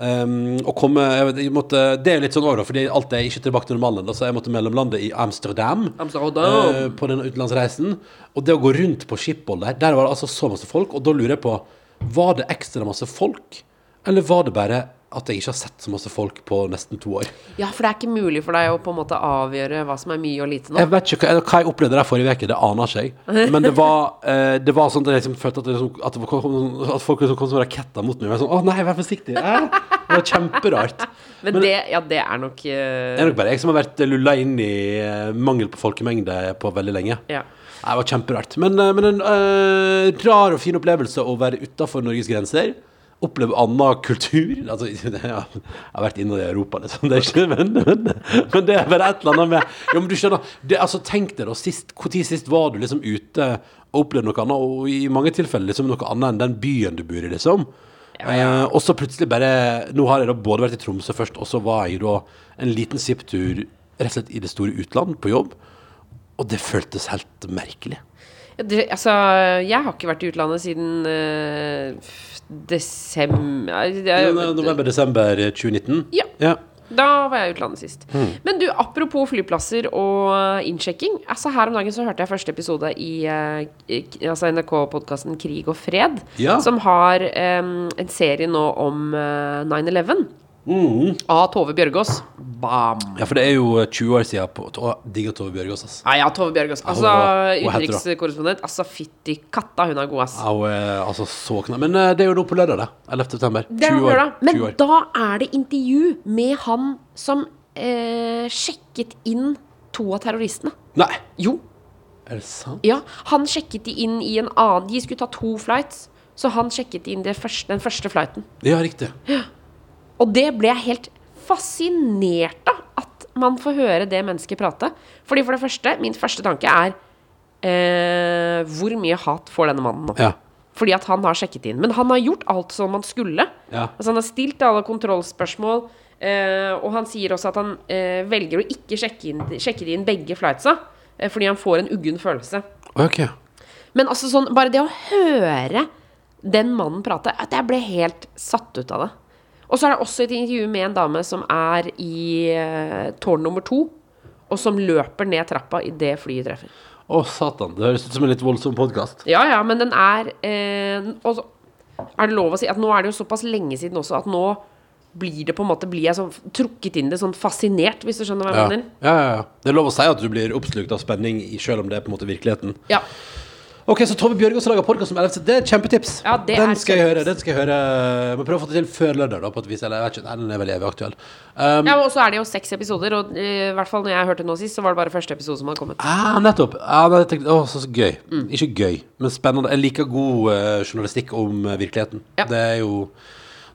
Speaker 3: ehm, å komme jeg vet, jeg måtte, Det er litt sånn òg, da, fordi alt er ikke tilbake til normalen. Da, så jeg måtte mellomlande i Amsterdam.
Speaker 4: Amsterdam.
Speaker 3: eh, på den utenlandsreisen. Og det å gå rundt på Schiphol der, der var det altså så masse folk. Og da lurer jeg på, var det ekstra masse folk? Eller var det bare at jeg ikke har sett så masse folk på nesten to år?
Speaker 4: Ja, for det er ikke mulig for deg å på en måte avgjøre hva som er mye og lite nå.
Speaker 3: Jeg vet ikke hva, hva jeg opplevde der forrige uke, det aner ikke jeg. Men det var, eh, det var sånn at jeg liksom følte at, det liksom, at, det kom, at folk liksom kom som raketter mot meg. Og jeg var sånn, å nei, vær forsiktig. Eh? Det var kjemperart.
Speaker 4: Men det Ja, det er nok eh,
Speaker 3: Det er nok bare jeg som har vært lulla inn i eh, mangel på folkemengde på veldig lenge.
Speaker 4: Ja.
Speaker 3: Nei, Det var kjemperart. Men, eh, men en eh, rar og fin opplevelse å være utafor Norges grenser. Oppleve annen kultur. Altså, ja, jeg har vært innad i Europa, liksom. Det er ikke, men, men, men det er bare et eller annet med Jo, men du skjønner. Det, altså, tenk deg da, sist, hvor tid sist var du liksom ute og opplevde noe annet? Og i mange tilfeller liksom noe annet enn den byen du bor i, liksom. Eh, og så plutselig bare Nå har jeg da både vært i Tromsø først, og så var jeg da en liten svipptur rett og slett i det store utland på jobb. Og det føltes helt merkelig.
Speaker 4: Ja, det, altså, jeg har ikke vært i utlandet siden eh, f- desember
Speaker 3: eh, November-desember 2019?
Speaker 4: Ja.
Speaker 3: ja.
Speaker 4: Da var jeg i utlandet sist.
Speaker 3: Hmm.
Speaker 4: Men du, apropos flyplasser og innsjekking. Altså Her om dagen så hørte jeg første episode i, eh, i- altså NRK-podkasten Krig og fred,
Speaker 3: Ja.
Speaker 4: som har eh, en serie nå om eh, 9-11.
Speaker 3: Hmm.
Speaker 4: Av Tove Bjørgaas. Bam!
Speaker 3: Ja, for det er jo 20 år siden på Å, digga Tove Bjørgaas, ass.
Speaker 4: Nei, ja, Tove Bjørgaas. Altså,
Speaker 3: Ja, hun var- hun heter det.
Speaker 4: utenrikskorrespondent. Altså, fytti katta, hun er god, ass.
Speaker 3: Au, eh, altså, så knall. Men eh, det er jo nå på lørdag, det. 11. september.
Speaker 4: Det er
Speaker 3: 20
Speaker 4: noe
Speaker 3: år.
Speaker 4: da. Men
Speaker 3: 20 år.
Speaker 4: da er det intervju med han som eh, sjekket inn to av terroristene.
Speaker 3: Nei,
Speaker 4: Jo,
Speaker 3: er det sant?
Speaker 4: ja. Han sjekket de inn i en annen De skulle ta to flights, så han sjekket inn det første, den første flighten.
Speaker 3: Ja, riktig.
Speaker 4: Og det ble jeg helt fascinert av. At man får høre det mennesket prate. Fordi for det første, min første tanke er eh, Hvor mye hat får denne mannen nå?
Speaker 3: Ja.
Speaker 4: Fordi at han har sjekket inn. Men han har gjort alt som han skulle.
Speaker 3: Ja.
Speaker 4: Altså Han har stilt alle kontrollspørsmål. eh, og han sier også at han eh, velger å ikke sjekke, inn, sjekke inn begge flightsa. eh, fordi han får en uggen følelse.
Speaker 3: Ok.
Speaker 4: Men altså sånn, bare det å høre den mannen prate at Jeg ble helt satt ut av det. Og så er det også et intervju med en dame som er i eh, tårn nummer to. Og som løper ned trappa idet flyet treffer.
Speaker 3: Å, satan. Det høres ut som en litt voldsom podkast.
Speaker 4: Ja, ja, men den er eh, Og så er det lov å si at nå er det jo såpass lenge siden også at nå blir det på en måte Blir jeg sånn trukket inn i det, sånn fascinert, hvis du skjønner hva
Speaker 3: Ja.
Speaker 4: jeg
Speaker 3: Ja,
Speaker 4: mener?
Speaker 3: ja, ja. Det er lov å si at du blir oppslukt av spenning, i- selv om det er på en måte virkeligheten.
Speaker 4: Ja.
Speaker 3: Ok, så Tove Bjørgaas lager podkast om 11. Det er et kjempetips.
Speaker 4: Ja, det
Speaker 3: den
Speaker 4: er
Speaker 3: skal jeg høre.
Speaker 4: kjempetips.
Speaker 3: Den skal jeg høre. Jeg må prøve å få det til før lørdag, da, på et vis. Eller jeg vet ikke, nei, den er vel evig aktuell. Um,
Speaker 4: ja og så er det jo seks episoder, og eh, i hvert fall når jeg hørte det nå sist, så var det bare første episode som hadde kommet.
Speaker 3: Ah, nettopp. Ah, nei, jeg tenkte, å, så, så gøy. Ikke gøy, men spennende. Jeg liker god eh, journalistikk om eh, virkeligheten.
Speaker 4: Ja.
Speaker 3: Det er jo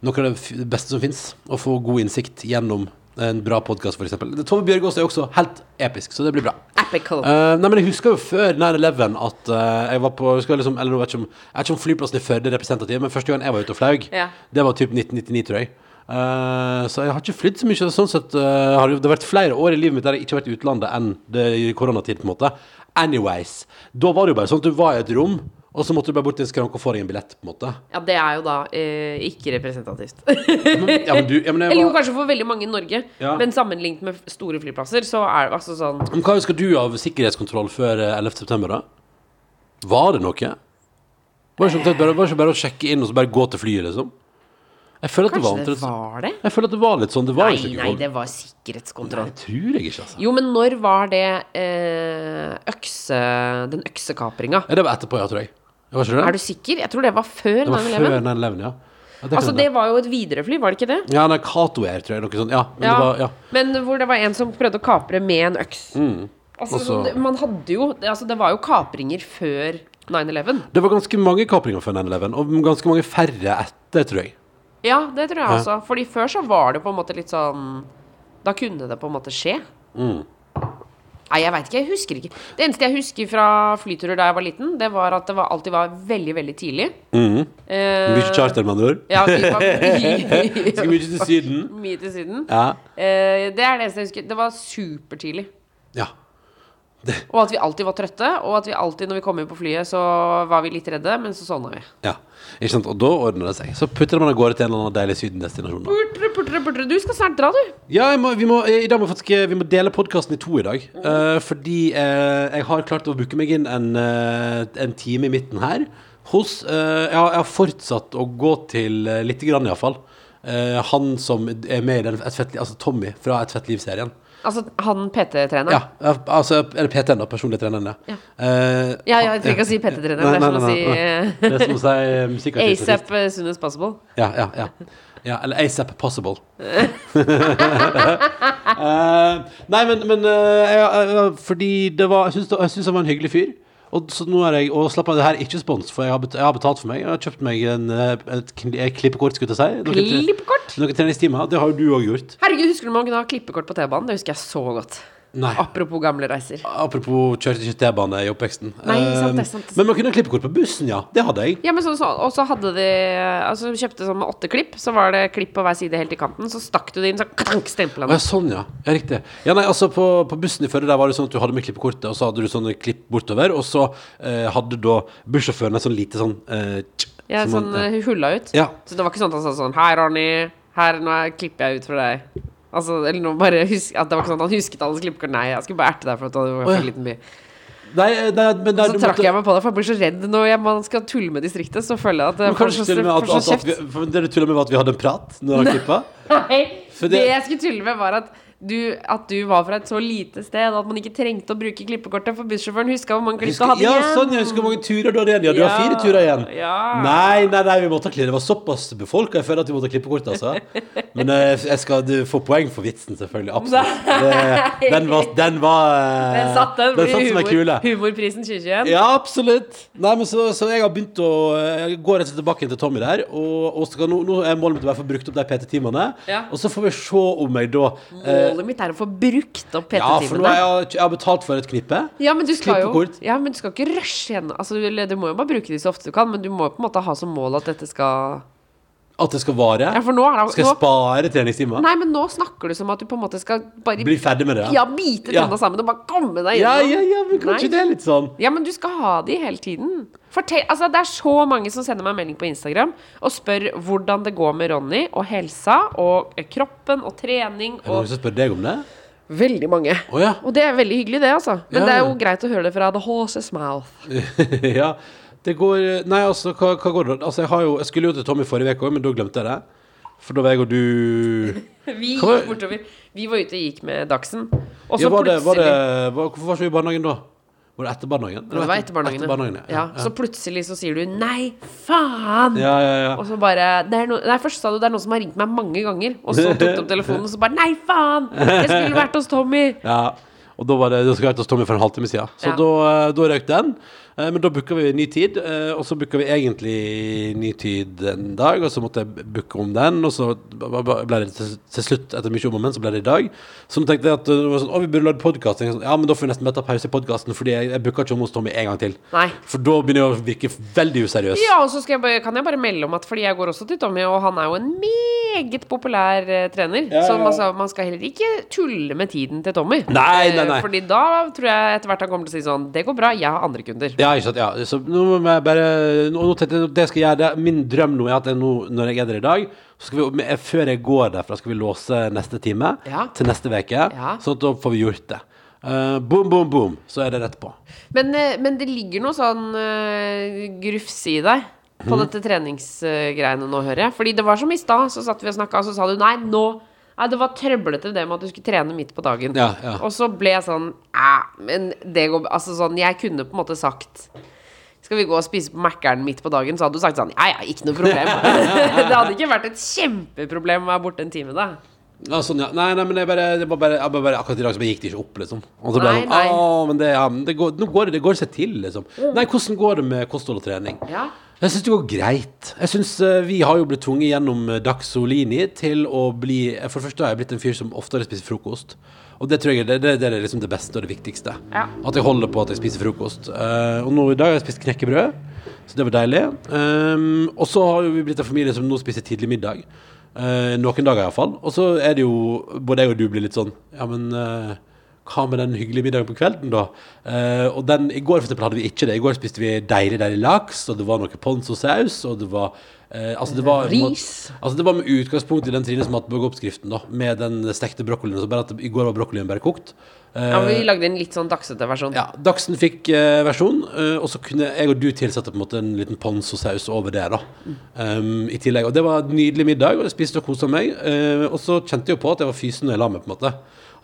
Speaker 3: noe av det f beste som fins. Å få god innsikt gjennom en bra podkast, f.eks. Tove Bjørgaas er også helt episk, så det blir bra.
Speaker 4: Epical.
Speaker 3: Eh, nei, men Jeg husker jo før 9-11 at eh, jeg var på jeg husker liksom, eller, jeg, vet ikke om, jeg vet ikke om flyplassen i Førde er representativ, men første gang jeg var ute og flaug,
Speaker 4: Ja.
Speaker 3: det var typ 1999, tror jeg. Eh, så jeg har ikke flydd så mye. Sånn sett eh, har det- det har vært flere år i livet mitt der jeg ikke har vært i utlandet enn det i koronatid. på en måte Anyways, da var det jo bare sånn at du var i et rom, og så måtte du bare bort til en skranke og få deg en billett. på en måte
Speaker 4: Ja, det er jo da eh, ikke representativt.
Speaker 3: ja, men du, ja, men jeg
Speaker 4: Eller jo,
Speaker 3: var-
Speaker 4: kanskje for veldig mange i Norge,
Speaker 3: Ja.
Speaker 4: men sammenlignet med f- store flyplasser, så er det altså sånn
Speaker 3: Men Hva husker du av sikkerhetskontroll før eh, 11. september da? Var det noe? Var det ikke omtrent bare, var det ikke bare å sjekke inn og så bare gå til flyet liksom? Jeg føler at det var,
Speaker 4: Kanskje det
Speaker 3: omtrent-
Speaker 4: var det?
Speaker 3: Jeg føler at det var litt sånn, det var
Speaker 4: Nei,
Speaker 3: ikke noe
Speaker 4: nei,
Speaker 3: kontroll.
Speaker 4: det var sikkerhetskontroll.
Speaker 3: Jeg tror jeg ikke, altså.
Speaker 4: Jo, men når var det eh, økse, den øksekapringa?
Speaker 3: Ja, det var etterpå, ja, tror jeg. Det var ikke
Speaker 4: Er du
Speaker 3: det?
Speaker 4: sikker? Jeg tror det var før
Speaker 3: Det var før
Speaker 4: 9-11.
Speaker 3: 9-11, ja. ja det
Speaker 4: Altså,
Speaker 3: kan
Speaker 4: det
Speaker 3: hende.
Speaker 4: var jo et viderefly, var det ikke det?
Speaker 3: Ja, nei, Kato Air, tror jeg, noe sånt. Ja, men det var, ja. Mm.
Speaker 4: Men hvor det var en som prøvde å kapre med en øks. Altså,
Speaker 3: Også-
Speaker 4: sånn, man hadde jo det- Altså, det var jo kapringer før 9-11.
Speaker 3: Det var ganske mange kapringer før 9-11, og ganske mange færre etter, tror jeg.
Speaker 4: Ja, det tror jeg også. Fordi før så var det på en måte litt sånn Da kunne det på en måte skje.
Speaker 3: Mm.
Speaker 4: Nei, jeg veit ikke. Jeg husker ikke. Det eneste jeg husker fra flyturer da jeg var liten, det var at det var, alltid var veldig, veldig tidlig. Eh,
Speaker 3: Mye charter, med andre ord.
Speaker 4: Ja, vi var mye,
Speaker 3: Skal mye til syden.
Speaker 4: mye til Syden.
Speaker 3: Ja.
Speaker 4: Eh, det er det eneste jeg husker. Det var supertidlig.
Speaker 3: Ja.
Speaker 4: Og at vi alltid var trøtte, og at vi alltid når vi kom inn på flyet, så var vi litt redde, men så sovna vi.
Speaker 3: Ja, ikke sant? Og da ordner det seg. Så putter man av gårde til en eller annen deilig sydendestinasjon. da.
Speaker 4: Purtre, purtre, purtre. Du skal snart dra, du.
Speaker 3: Ja, jeg må, vi, må, eh, i dag må vi faktisk, vi må dele podkasten i to i dag. eh, fordi eh, jeg har klart å booke meg inn en, eh, en time i midten her. Hos, eh, jeg, har, jeg har fortsatt å gå til uh, lite grann, iallfall. Uh, han som er med i den et fett, liv- Altså Tommy fra Et fett liv-serien.
Speaker 4: Altså han PT-treneren.
Speaker 3: Ja, eh, altså, eller PT-en, da. Personlig treneren.
Speaker 4: Ja.
Speaker 3: Eh,
Speaker 4: Ja, ja, jeg trenger ikke å si PT-trener, det er som å si, eh,
Speaker 3: Det er som å si eh, musikkartist. artist.
Speaker 4: ASAP as soon as possible.
Speaker 3: Ja, ja, ja. ja eller ASAP Possible. Eh, nei, men, men eh, jeg- jeg- fordi det var Jeg syns det- jeg syns han var en hyggelig fyr. Og så nå er jeg, og slapp av, det her er ikke spons, for jeg har, bet, jeg har betalt for meg. Jeg har kjøpt meg en, eh, et kli- et klippekort, skulle jeg til å si. Noen tre-
Speaker 4: Klippekort?
Speaker 3: Noen treningstimer. Det har jo du òg gjort.
Speaker 4: Herregud, husker du man kunne ha klippekort på T-banen? Det husker jeg så godt.
Speaker 3: Nei.
Speaker 4: Apropos gamle reiser.
Speaker 3: Apropos kjørte ikke T-bane i oppveksten.
Speaker 4: Nei, sant det,
Speaker 3: Eh,
Speaker 4: sant det.
Speaker 3: Men man kunne ha klippekort på bussen, ja. Det hadde jeg.
Speaker 4: Ja, men så, så, og så hadde de Altså kjøpte sånn med åtte klipp, så var det klipp på hver side helt i kanten. Så stakk du det inn, så klank, stempla
Speaker 3: Å, ja,
Speaker 4: den.
Speaker 3: sånn, ja. ja riktig. Ja, nei, altså på, på bussen i Førde der var det sånn at du hadde med klippekortet, og så hadde du sånne klipp bortover, og så eh, hadde da bussjåføren et sånn lite sånn eh, tsk,
Speaker 4: Ja,
Speaker 3: som
Speaker 4: sånn
Speaker 3: man-
Speaker 4: eh, hulla ut.
Speaker 3: Ja.
Speaker 4: Så det var ikke sånn at han sa sånn Hei, Ronny. Her, nå klipper jeg ut for deg. Altså, eller nå bare husk, at det var ikke sånn at han husket alle klippekort. Nei, jeg skulle bare erte deg for at du hadde
Speaker 3: Å,
Speaker 4: vært
Speaker 3: ja.
Speaker 4: for liten by.
Speaker 3: Nei, eh, nei, men
Speaker 4: eh, Så trakk jeg meg på det, for jeg blir så redd når jeg, man skal tulle med distriktet. Så føler jeg at jeg får
Speaker 3: Kanskje
Speaker 4: så,
Speaker 3: til og med at,
Speaker 4: får
Speaker 3: at,
Speaker 4: så
Speaker 3: at vi, for Dere tuller med at vi hadde en prat når han klippa?
Speaker 4: Nei,
Speaker 3: For
Speaker 4: det
Speaker 3: det-
Speaker 4: jeg skulle tulle med, var at du, at du var fra et så lite sted at man ikke trengte å bruke klippekortet, for bussjåføren huska hvor mange klipp du
Speaker 3: Husker,
Speaker 4: hadde
Speaker 3: ja,
Speaker 4: igjen.
Speaker 3: sånn, jeg husker hvor mange turer du hadde igjen. Ja, du har
Speaker 4: Ja,
Speaker 3: fire turer igjen.
Speaker 4: ja.
Speaker 3: Nei, nei, nei, vi måtte klippe. Det var såpass befolka. Jeg føler at vi måtte klippe kort, altså. Men eh, jeg skal du får poeng for vitsen, selvfølgelig. Absolutt.
Speaker 4: Nei.
Speaker 3: Det, den var, den var eh,
Speaker 4: Den satt, den.
Speaker 3: den satt
Speaker 4: blir
Speaker 3: som ei
Speaker 4: humor,
Speaker 3: kule.
Speaker 4: humorprisen 2021.
Speaker 3: Ja, absolutt. Nei, men så, så jeg har begynt å eh, Jeg går rett og slett tilbake til Tommy der. Og, og skal, nå, nå er målet mitt å bare få brukt opp de PT-timene.
Speaker 4: Ja.
Speaker 3: Og så får vi se om jeg da eh,
Speaker 4: Målet mitt er å få brukt opp
Speaker 3: Ja, for nå
Speaker 4: PT-timene.
Speaker 3: har
Speaker 4: Ja,
Speaker 3: jeg, jeg har betalt for et knippe.
Speaker 4: men du skal jo
Speaker 3: Klippekort.
Speaker 4: ja, men du skal ikke rushe igjen. Altså, du, eller du må jo bare bruke de så ofte du kan, men du må jo på en måte ha som mål at dette skal
Speaker 3: At det skal vare.
Speaker 4: Ja, for nå er det
Speaker 3: Skal jeg
Speaker 4: nå,
Speaker 3: spare treningstimer?
Speaker 4: Nei, men nå snakker du som at du på en måte skal bare
Speaker 3: Bli ferdig med det?
Speaker 4: ja, bite
Speaker 3: Ja.
Speaker 4: tenna sammen og bare komme deg
Speaker 3: Ja,
Speaker 4: gjennom.
Speaker 3: ja, ja, men kanskje
Speaker 4: Nei.
Speaker 3: det er litt sånn.
Speaker 4: Ja, men du skal ha de hele tiden. Fortell, altså, det er så mange som sender meg melding på Instagram og spør hvordan det går med Ronny og helsa og eh, kroppen og trening
Speaker 3: Er det noen
Speaker 4: og
Speaker 3: som spør deg om det?
Speaker 4: Veldig mange.
Speaker 3: Å ja.
Speaker 4: Og det er veldig hyggelig, det, altså. Men
Speaker 3: Ja,
Speaker 4: det er
Speaker 3: ja.
Speaker 4: jo greit å høre det fra the horse's mouth.
Speaker 3: ja. Det går Nei, altså, hva, hva går det Altså, jeg har jo Jeg skulle jo til Tommy forrige uke òg, men da glemte jeg det. For da var jeg og du
Speaker 4: Vi
Speaker 3: Kan
Speaker 4: gikk
Speaker 3: jeg-
Speaker 4: bortover. Vi var ute og gikk med Dagsen, og så
Speaker 3: ja, var det,
Speaker 4: plutselig
Speaker 3: var det, var, Hvorfor var ikke vi i barnehagen da? Var det etter barnehagen?
Speaker 4: Det var etter barnehagen,
Speaker 3: Etter barnehagen ja.
Speaker 4: ja.
Speaker 3: Ja.
Speaker 4: Så plutselig så sier du 'nei, faen'.
Speaker 3: ja, ja, ja.
Speaker 4: Og så bare det er no, Nei, først sa du det er noen som har ringt meg mange ganger. Og så tok du opp telefonen og så bare 'nei, faen'! Jeg skulle vært hos Tommy!
Speaker 3: ja. Og da var det, det skulle vært hos Tommy for en halvtime siden. Så
Speaker 4: Ja.
Speaker 3: da, da røk den. Eh, Men da booka vi ny tid, eh, og så booka vi egentlig ny tid en dag, og så måtte jeg booke om den, og så ba- ba- ble det til til slutt, etter mye om og men, så ble det i dag. Så nå tenkte jeg at det var sånn, å, vi burde lage podkast. sånn, Ja, men da får vi nesten bare ta pause i podkasten, Fordi jeg, jeg booka ikke om hos Tommy en gang til.
Speaker 4: Nei.
Speaker 3: For da begynner jeg å virke veldig useriøs.
Speaker 4: Ja, og så skal jeg bare, kan jeg bare melde om at fordi jeg går også til Tommy, og han er jo en meget populær eh, trener,
Speaker 3: Ja,
Speaker 4: så
Speaker 3: ja, ja.
Speaker 4: man, skal- man skal heller ikke tulle med tiden til Tommy.
Speaker 3: Nei, nei,
Speaker 4: Eh,
Speaker 3: nei.
Speaker 4: Fordi da tror jeg etter hvert han kommer til å si sånn 'Det går bra, jeg har andre kunder'.
Speaker 3: Ja, ikke sant, ja. Så nå må jeg bare nå, nå tenkte jeg at det skal jeg gjøre det. Min drøm nå er at jeg nå, når jeg er der i dag så skal vi, men jeg- Før jeg går derfra, skal vi låse neste time
Speaker 4: Ja.
Speaker 3: til neste uke.
Speaker 4: Ja.
Speaker 3: Sånn at da får vi gjort det. Eh, boom, boom, boom. Så er det rett på.
Speaker 4: Men, eh, men det ligger noe sånn eh, grufs i deg. På
Speaker 3: Mhm.
Speaker 4: dette treningsgreiene nå, hører jeg. Fordi det var som i stad, så satt vi og snakka, og så sa du nei, nå Nei, det var trøblete det med at du skulle trene midt på dagen.
Speaker 3: Ja, ja.
Speaker 4: Og så ble jeg sånn Æ, men det går Altså sånn, jeg kunne på en måte sagt skal vi gå og spise på Mækkern midt på dagen, så hadde du sagt sånn Ja, ja, ikke noe problem. det hadde ikke vært et kjempeproblem å være borte en time, da.
Speaker 3: Ja, sånn, ja. Nei, nei, men jeg bare, det var bare, jeg bare, bare Akkurat i dag så bare gikk det ikke opp, liksom. Og så ble jeg
Speaker 4: Nei,
Speaker 3: sånn,
Speaker 4: nei.
Speaker 3: «Åh, men det, ja, men det går, nå går det, det går seg til, liksom. Nei, hvordan går det med kosthold og trening?
Speaker 4: Mm. Ja.
Speaker 3: Jeg syns det går greit. Jeg synes, eh, Vi har jo blitt tvunget gjennom eh, Daxolini til å bli eh, For det første har jeg blitt en fyr som oftere spiser frokost. Og det tror jeg det, det, det er liksom det beste og det viktigste.
Speaker 4: Ja.
Speaker 3: At jeg holder på at jeg spiser frokost. Eh, og nå i dag har jeg spist knekkebrød, så det var deilig. Um, og så har jo vi blitt en familie som nå spiser tidlig middag. Eh, noen dager iallfall. Og så er det jo Både jeg og du blir litt sånn Ja, men eh, hva med den hyggelige middagen på kvelden, da? Eh, og den, I går for eksempel, hadde vi ikke det. I går spiste vi deilig, deilig laks, og det var noe ponzosaus, og det var eh, altså det var,
Speaker 4: Ris.
Speaker 3: Altså det var med utgangspunkt i den Trine som hadde oppskriften, da, med den stekte brokkolien. Så bare at I går var brokkolien bare kokt. Eh,
Speaker 4: ja men vi lagde en litt sånn dagsete versjon.
Speaker 3: ja, Dagsen fikk eh, versjon, eh, og så kunne jeg og du tilsette på en måte en liten ponzosaus over det. da
Speaker 4: Mm.
Speaker 3: um, I tillegg, og Det var en nydelig middag, og jeg spiste og kosa meg. eh, og så kjente jeg jo på at jeg var fysen når jeg la meg. på en måte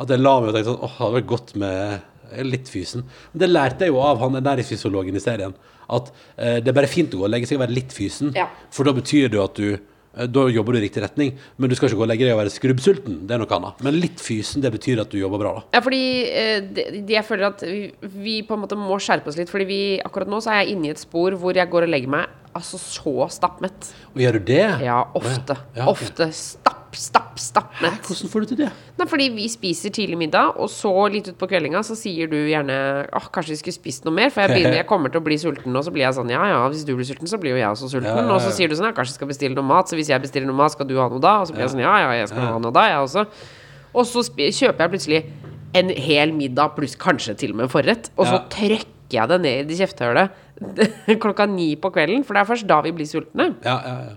Speaker 3: At jeg la meg og tenkte sånn, åh, det hadde vært godt med jeg er litt fysen. Men det lærte jeg jo av han ernæringsfysiologen i serien. At eh, det er bare fint å gå og legge seg og være litt fysen,
Speaker 4: Ja.
Speaker 3: for da betyr det jo at du eh, da jobber du i riktig retning, men du skal ikke gå og legge deg og være skrubbsulten. Det er noe annet. Men litt fysen, det betyr at du jobber bra, da.
Speaker 4: Ja, fordi eh, det- det- jeg føler at vi, vi på en måte må skjerpe oss litt. Fordi vi, akkurat nå så er jeg inne i et spor hvor jeg går og legger meg altså så stappmett.
Speaker 3: Og gjør du det?
Speaker 4: Ja, ofte.
Speaker 3: Ja, ok.
Speaker 4: Ofte. Stapp, stapp, stappmett.
Speaker 3: Hvordan får du til det?
Speaker 4: Nei, fordi vi spiser tidlig middag, og så litt utpå kveldinga så sier du gjerne åh, kanskje vi skulle spist noe mer, for jeg, begynner, jeg kommer til å bli sulten, og så blir jeg sånn ja ja, hvis du blir sulten, så blir jo jeg også sulten.
Speaker 3: Ja, ja, ja.
Speaker 4: Og så sier du sånn ja, kanskje jeg skal bestille noe mat, så hvis jeg bestiller noe mat, skal du ha noe da? Og så blir jeg sånn ja ja, jeg skal ha noe da, jeg også. Og så spi- kjøper jeg plutselig en hel middag pluss kanskje til og med en forrett, og så
Speaker 3: Ja.
Speaker 4: trøkker jeg det ned i kjeftehullet klokka ni på kvelden, for det er først da vi blir sultne.
Speaker 3: Ja, ja, ja.
Speaker 4: Ja,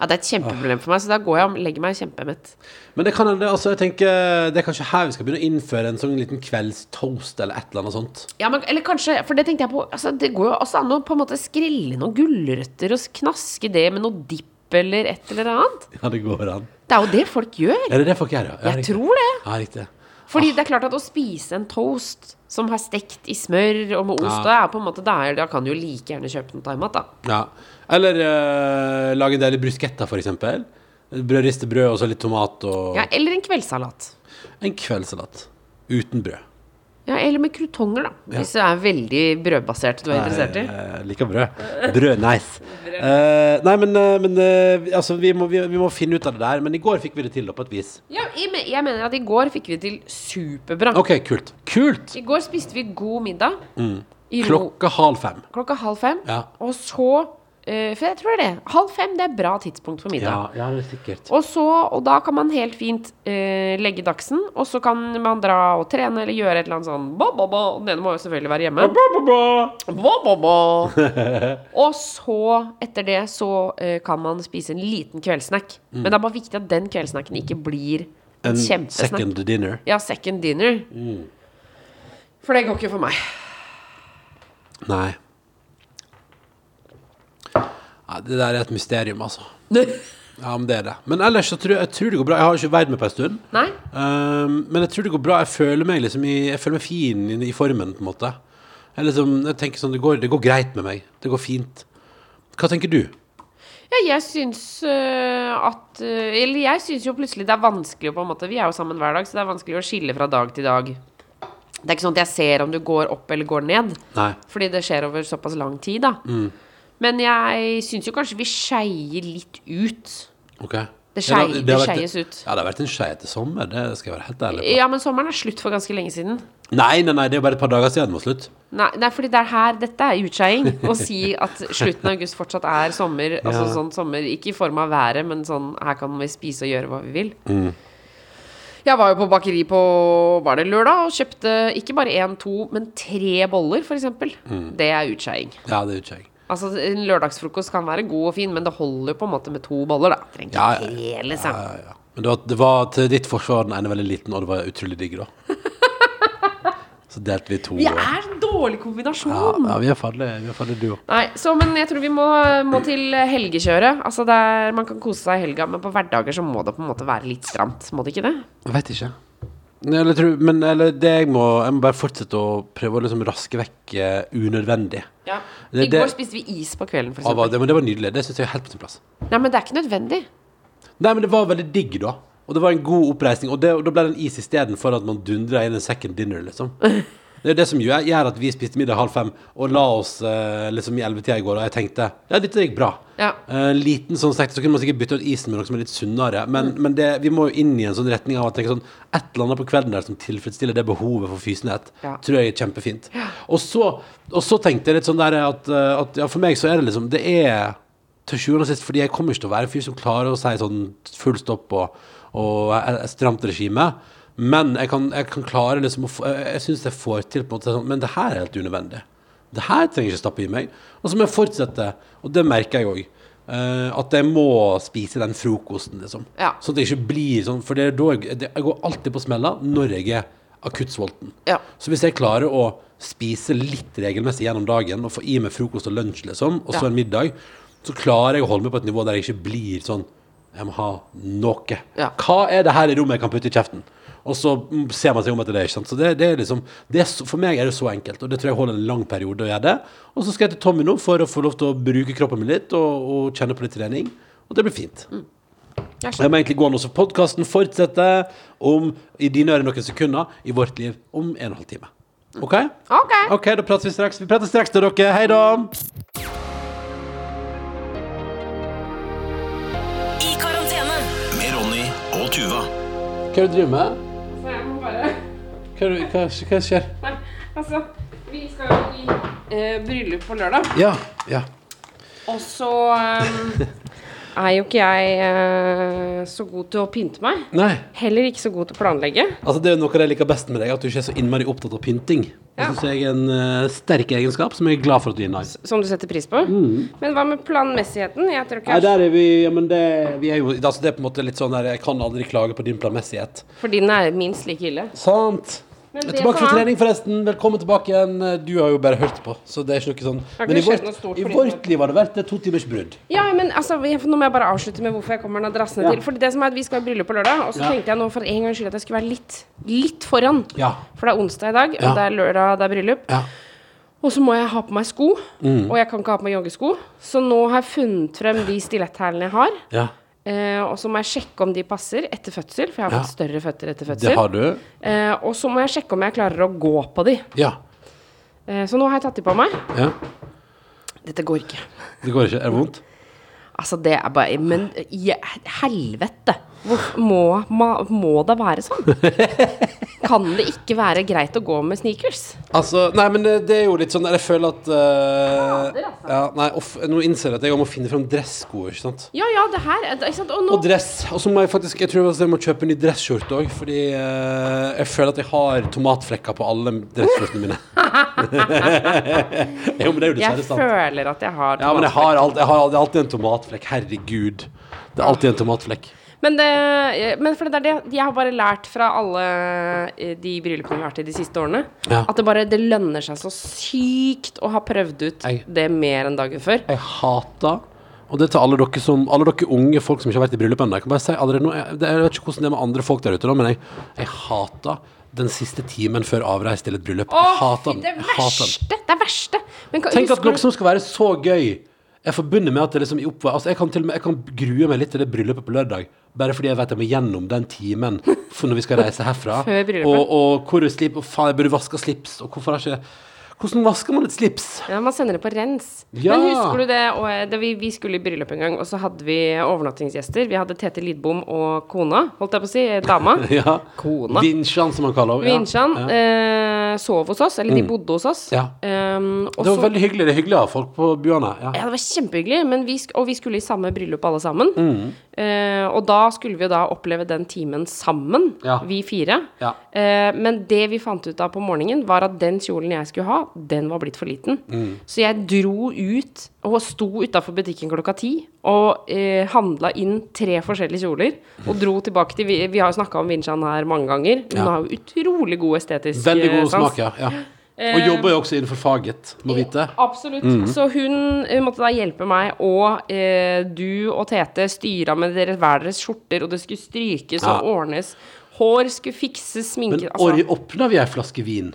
Speaker 4: Ja, det er et kjempeproblem for meg, så da går jeg og legger meg kjempemett.
Speaker 3: Men det kan hende, altså, jeg tenker Det er kanskje her vi skal begynne å innføre en sånn liten kveldstoast eller et eller annet sånt.
Speaker 4: Ja, men, eller kanskje, for det tenkte jeg på altså, Det går jo også an å på en måte skrelle noen gulrøtter og knaske det med noe dipp eller et eller annet.
Speaker 3: Ja, det går an.
Speaker 4: Det er jo det folk gjør.
Speaker 3: Er det det folk gjør, ja? ja?
Speaker 4: Jeg
Speaker 3: riktig.
Speaker 4: tror det.
Speaker 3: Ja, riktig.
Speaker 4: Fordi det er klart at å spise en toast som har stekt i smør og med ost,
Speaker 3: Ja.
Speaker 4: da, er på en måte, da, er, da kan du jo like gjerne kjøpe den thaimat, da.
Speaker 3: Ja. Eller eh, lage en del bruschetta, for eksempel. Brødriste brød og så litt tomat og
Speaker 4: Ja, eller en kveldssalat.
Speaker 3: en kveldssalat. Uten brød.
Speaker 4: Ja, eller med krutonger, da. Hvis du er veldig brødbasert du er interessert i.
Speaker 3: Eh, liker brød. Brød, nice. Eh, nei, men, eh, men eh, altså, vi må, vi, vi må finne ut av det der. Men i går fikk vi det til da, på et vis.
Speaker 4: Ja, jeg men- jeg mener at i går fikk vi det til superbra.
Speaker 3: OK, Mm. kult. Kult!
Speaker 4: I går spiste vi god middag. I ro-
Speaker 3: Klokka halv fem.
Speaker 4: klokka halv fem.
Speaker 3: Ja.
Speaker 4: Og så eh, For jeg tror det. Halv fem det er bra tidspunkt for middag.
Speaker 3: Ja, ja, det er sikkert.
Speaker 4: Og, så, og da kan man helt fint eh, legge dagsen, og så kan man dra og trene eller gjøre et eller annet sånn ba, ba, ba. Og Den ene må jo selvfølgelig være hjemme. Ba, ba, ba. og så, etter det, så eh, kan man spise en liten kveldssnack. Men det er bare viktig at den kveldssnacken ikke blir en,
Speaker 3: Mm. En
Speaker 4: kjempesnack.
Speaker 3: second Mm. dinner.
Speaker 4: Ja, second dinner. For det går ikke for meg.
Speaker 3: Nei. Nei, det der er et mysterium, altså. Ja, men det er det. Men ellers så tror jeg, jeg tror det går bra. Jeg har ikke veid meg på en stund.
Speaker 4: Nei?
Speaker 3: Ehm, men jeg tror det går bra. Jeg føler meg liksom i, jeg føler meg fin i, i formen, på en måte. Jeg, liksom, jeg tenker sånn, det går, det går greit med meg. Det går fint. Hva tenker du?
Speaker 4: Ja, jeg syns øh, at øh, Eller jeg syns jo plutselig det er vanskelig å på en måte Vi er jo sammen hver dag, så det er vanskelig å skille fra dag til dag. Det er ikke sånn at jeg ser om du går opp eller går ned,
Speaker 3: Nei.
Speaker 4: fordi det skjer over såpass lang tid, da. Men jeg syns jo kanskje vi skeier litt ut.
Speaker 3: Ok. Ja,
Speaker 4: Det skei-
Speaker 3: har
Speaker 4: det
Speaker 3: vært-
Speaker 4: skeies ut.
Speaker 3: Ja, det har vært en skeiete sommer. Det skal jeg være helt ærlig på.
Speaker 4: Ja, men sommeren er slutt for ganske lenge siden.
Speaker 3: Nei, nei, nei, det er jo bare et par dager siden det var slutt.
Speaker 4: Nei, nei fordi det er her Dette er utskeiing. Å si at slutten av august fortsatt er sommer. Altså sånn sommer Ikke i form av været, men sånn her kan vi spise og gjøre hva vi vil.
Speaker 3: Mm.
Speaker 4: Jeg var jo på bakeri på var det lørdag og kjøpte ikke bare én, to, men tre boller, f.eks. eksempel
Speaker 3: Mm.
Speaker 4: Det er utskeiing.
Speaker 3: Ja, det er jo ikke jeg.
Speaker 4: Altså, en lørdagsfrokost kan være god og fin, men det holder på en måte med to boller, da. Trenger
Speaker 3: Ja, ja,
Speaker 4: ikke tre, liksom.
Speaker 3: Ja, ja. Men det var, det var til ditt forsvar den ene veldig liten, og det var utrolig digg, da. Så delte vi to.
Speaker 4: Vi
Speaker 3: og-
Speaker 4: er en dårlig kombinasjon.
Speaker 3: ja, ja, vi er farlig, vi er farlig duo.
Speaker 4: Nei, så, men jeg tror vi må, må til helgekjøret. Altså der man kan kose seg i helga, men på hverdager så må det på en måte være litt stramt. Må det ikke det?
Speaker 3: Jeg vet ikke. Nei, Eller, tror- men eller, det jeg, må, jeg må bare fortsette å prøve å liksom raske vekk eh, unødvendig.
Speaker 4: I
Speaker 3: Det, det,
Speaker 4: går spiste vi is på kvelden, for
Speaker 3: Ja, var
Speaker 4: eksempel.
Speaker 3: det, men det var nydelig. Det syns jeg er helt på sin plass.
Speaker 4: Nei, men det er ikke nødvendig.
Speaker 3: Nei, men det var veldig digg, da. Og det var en god oppreisning. Og, det, og da ble det en is istedenfor at man dundra inn en second dinner, liksom. Det er det som gjør, gjør at vi spiste middag halv fem og la oss eh, liksom i ellevetida i går, og jeg tenkte ja, dette gikk bra.
Speaker 4: Ja.
Speaker 3: Eh, liten sånn sekt, så kunne man sikkert bytte ut isen med noe som er litt sunnere, men,
Speaker 4: Mm.
Speaker 3: men det, vi må jo inn i en sånn retning av å tenke sånn et eller annet på kvelden der som tilfredsstiller det behovet for fysenhet,
Speaker 4: Ja.
Speaker 3: tror jeg er kjempefint. Og, så, og så tenkte jeg litt sånn der at, eh, at ja, for meg så er det liksom Det er til sjuende og sist, fordi jeg kommer ikke til å være en fyr som klarer å si sånn full stopp og, og et- et stramt regime. Men jeg kan, jeg kan klare liksom å få Jeg, jeg syns jeg får til på en måte sånn Men det her er helt unødvendig. Det her trenger jeg ikke stappe i meg. Og så må jeg fortsette, og det merker jeg òg. at jeg må spise den frokosten, liksom.
Speaker 4: Ja.
Speaker 3: Sånn at jeg ikke blir sånn. For det er da jeg, det, jeg går alltid på smella når jeg er akutt sulten.
Speaker 4: Ja.
Speaker 3: Så hvis jeg klarer å spise litt regelmessig gjennom dagen, og få i meg frokost og lunsj, liksom, og så
Speaker 4: Ja.
Speaker 3: en middag, så klarer jeg å holde meg på et nivå der jeg ikke blir sånn Jeg må ha noe.
Speaker 4: Ja.
Speaker 3: Hva er det her i rommet jeg kan putte i kjeften? Og så mm, ser man seg om etter det. ikke sant? Så det, det er liksom, det er, så- For meg er det så enkelt, og det tror jeg holder en lang periode å gjøre det. Og så skal jeg til Tommy nå for å få lov til å bruke kroppen min litt og, og kjenne på litt trening. Og det blir fint.
Speaker 4: Jeg
Speaker 3: Jeg
Speaker 4: skjønner.
Speaker 3: må egentlig gå nå, så podkasten fortsetter om i dine ører noen sekunder, i vårt liv om en og en halv time. OK?
Speaker 4: Ok.
Speaker 3: OK, da prates vi straks. Vi prates straks til dere. Hei da!
Speaker 5: I karantene.
Speaker 2: Med Ronny og Tuva.
Speaker 3: Hva er det du driver med?
Speaker 4: Så jeg må bare
Speaker 3: Hva, er det- hva, hva skjer?
Speaker 4: Nei, altså. Vi skal jo i eh, bryllup på lørdag,
Speaker 3: Ja. ja.
Speaker 4: og så eh, er jo ikke jeg eh, så god til å pynte meg.
Speaker 3: Nei.
Speaker 4: Heller ikke så god til å planlegge.
Speaker 3: Altså, det er noe av det jeg liker best med deg, at du ikke er så innmari opptatt av pynting. Det
Speaker 4: Ja.
Speaker 3: syns jeg er en eh, sterk egenskap som jeg er glad for at du innehar.
Speaker 4: Som du setter pris på. Men hva med planmessigheten? Jeg tror ikke
Speaker 3: Mm. Nei,
Speaker 4: jeg,
Speaker 3: der er vi Ja, men det vi er jo altså, Det er på en måte litt sånn der Jeg kan aldri klage på din planmessighet.
Speaker 4: For din er minst like ille.
Speaker 3: Sant.
Speaker 4: Men
Speaker 3: Jeg er
Speaker 4: det
Speaker 3: tilbake
Speaker 4: som
Speaker 3: fra
Speaker 4: er-
Speaker 3: trening, forresten. Velkommen tilbake igjen. Du har jo bare hørt på, så det er ikke noe sånn
Speaker 4: har ikke
Speaker 3: Men i
Speaker 4: skjedd noe
Speaker 3: vårt,
Speaker 4: stort
Speaker 3: i
Speaker 4: på din
Speaker 3: vårt liv har det vært et to timers brudd.
Speaker 4: Ja, men altså, vi- Nå må jeg bare avslutte med hvorfor jeg kommer den adressene
Speaker 3: Ja.
Speaker 4: til. For det som er at Vi skal i bryllup på lørdag, og så
Speaker 3: Ja.
Speaker 4: tenkte jeg nå for en gangs skyld at jeg skulle være litt, litt foran.
Speaker 3: Ja.
Speaker 4: For det er onsdag i dag,
Speaker 3: Ja.
Speaker 4: og det er lørdag, det er bryllup.
Speaker 3: Ja. Mm.
Speaker 4: Og så må jeg ha på meg sko, og jeg kan ikke ha på meg joggesko. Så nå har jeg funnet frem de stiletthælene jeg har.
Speaker 3: ja.
Speaker 4: Eh, og så må jeg sjekke om de passer etter fødsel, for jeg har
Speaker 3: Ja.
Speaker 4: fått større føtter etter
Speaker 3: Det
Speaker 4: fødsel.
Speaker 3: har du.
Speaker 4: Eh, og så må jeg sjekke om jeg klarer å gå på de.
Speaker 3: Ja.
Speaker 4: Eh, så nå har jeg tatt de på meg.
Speaker 3: ja.
Speaker 4: Dette går ikke.
Speaker 3: Det går ikke. Er det vondt?
Speaker 4: Altså, det er bare Men je- helvete! Hvor, må, ma, må det være sånn? Kan det ikke være greit å gå med sneakers?
Speaker 3: Altså, nei, men det, det er jo litt sånn der jeg føler at eh,
Speaker 4: altså.
Speaker 3: ja, Nei, off, nå innser jeg at jeg må finne fram dressko, ikke sant.
Speaker 4: Ja ja, det her er- ikke sant? Og nå
Speaker 3: Og dress. Og så må jeg faktisk Jeg tror faktisk jeg må kjøpe en ny dresskjorte òg, fordi eh, jeg føler at jeg har tomatflekker på alle dresskjortene mine. jo, men det er jo
Speaker 4: Jeg
Speaker 3: dessverre sant.
Speaker 4: føler at jeg har
Speaker 3: Ja, men jeg har, alt, jeg har alltid, alltid en tomatflekk. Herregud. Det er alltid en tomatflekk.
Speaker 4: Men, det, men for det er det jeg har bare lært fra alle eh, de bryllupene vi har vært i de siste årene,
Speaker 3: Ja.
Speaker 4: at det bare det lønner seg så sykt å ha prøvd ut
Speaker 3: Jeg-
Speaker 4: det mer enn dagen før.
Speaker 3: Jeg hater Og det er til alle dere, som, alle dere unge folk som ikke har vært i bryllup ennå. Jeg kan bare si allerede nå jeg, det, jeg vet ikke hvordan det er med andre folk der ute, da, men jeg, jeg hater den siste timen før avreise til et bryllup.
Speaker 4: Å,
Speaker 3: Jeg hater
Speaker 4: fy,
Speaker 3: den.
Speaker 4: det
Speaker 3: Jeg hater den.
Speaker 4: verste! Det er verste! Men, kan-
Speaker 3: Tenk at
Speaker 4: husker
Speaker 3: noe
Speaker 4: du-
Speaker 3: som skal være så gøy, jeg forbinder med at det liksom i oppvær- altså jeg, kan til og med, jeg kan grue meg litt til det bryllupet på lørdag, bare fordi jeg vet jeg må gjennom den timen for når vi skal reise herfra.
Speaker 4: Før bryllupet.
Speaker 3: og, og hvor er slip, og faen, jeg burde vaske slips, og hvorfor har ikke Hvordan vasker man et slips?
Speaker 4: Ja, man sender det på rens.
Speaker 3: Ja.
Speaker 4: Men husker du det, og eh, da vi, vi skulle i bryllup en gang, og så hadde vi overnattingsgjester. Vi hadde Tete Lidbom og kona, holdt jeg på å si, eh, dama.
Speaker 3: Ja.
Speaker 4: Kona.
Speaker 3: Vinsjan, som man kaller henne.
Speaker 4: Vinsjan
Speaker 3: Ja. Mm.
Speaker 4: eh, sov hos oss, eller de bodde hos oss.
Speaker 3: Ja.
Speaker 4: Um, og
Speaker 3: Det var
Speaker 4: så-
Speaker 3: veldig hyggelig. Det er hyggelig å ha folk på buene. Ja.
Speaker 4: Ja, det var kjempehyggelig, men vi, sk- og vi skulle i samme bryllup alle sammen.
Speaker 3: Mm.
Speaker 4: Eh, og da skulle vi jo da oppleve den timen sammen,
Speaker 3: Ja.
Speaker 4: vi fire.
Speaker 3: Ja.
Speaker 4: Eh, men det vi fant ut av på morgenen, var at den kjolen jeg skulle ha, den var blitt for liten.
Speaker 3: Mm.
Speaker 4: Så jeg dro ut og sto utafor butikken klokka ti og eh, handla inn tre forskjellige kjoler. Og dro tilbake til Vi, vi har jo snakka om Vinsjan her mange ganger. Hun
Speaker 3: Ja.
Speaker 4: har jo utrolig god estetisk
Speaker 3: Veldig
Speaker 4: eh,
Speaker 3: god
Speaker 4: sans. Eh,
Speaker 3: smak, ja. ja. Og jobber jo også innenfor faget, må vite.
Speaker 4: Absolutt.
Speaker 3: Mhm.
Speaker 4: Så hun eh, måtte da hjelpe meg, og eh, du og Tete styra med dere hver deres skjorter, og det skulle strykes
Speaker 3: Ja.
Speaker 4: og ordnes. Hår skulle fikses, sminke
Speaker 3: Men
Speaker 4: altså,
Speaker 3: åpna vi ei flaske vin?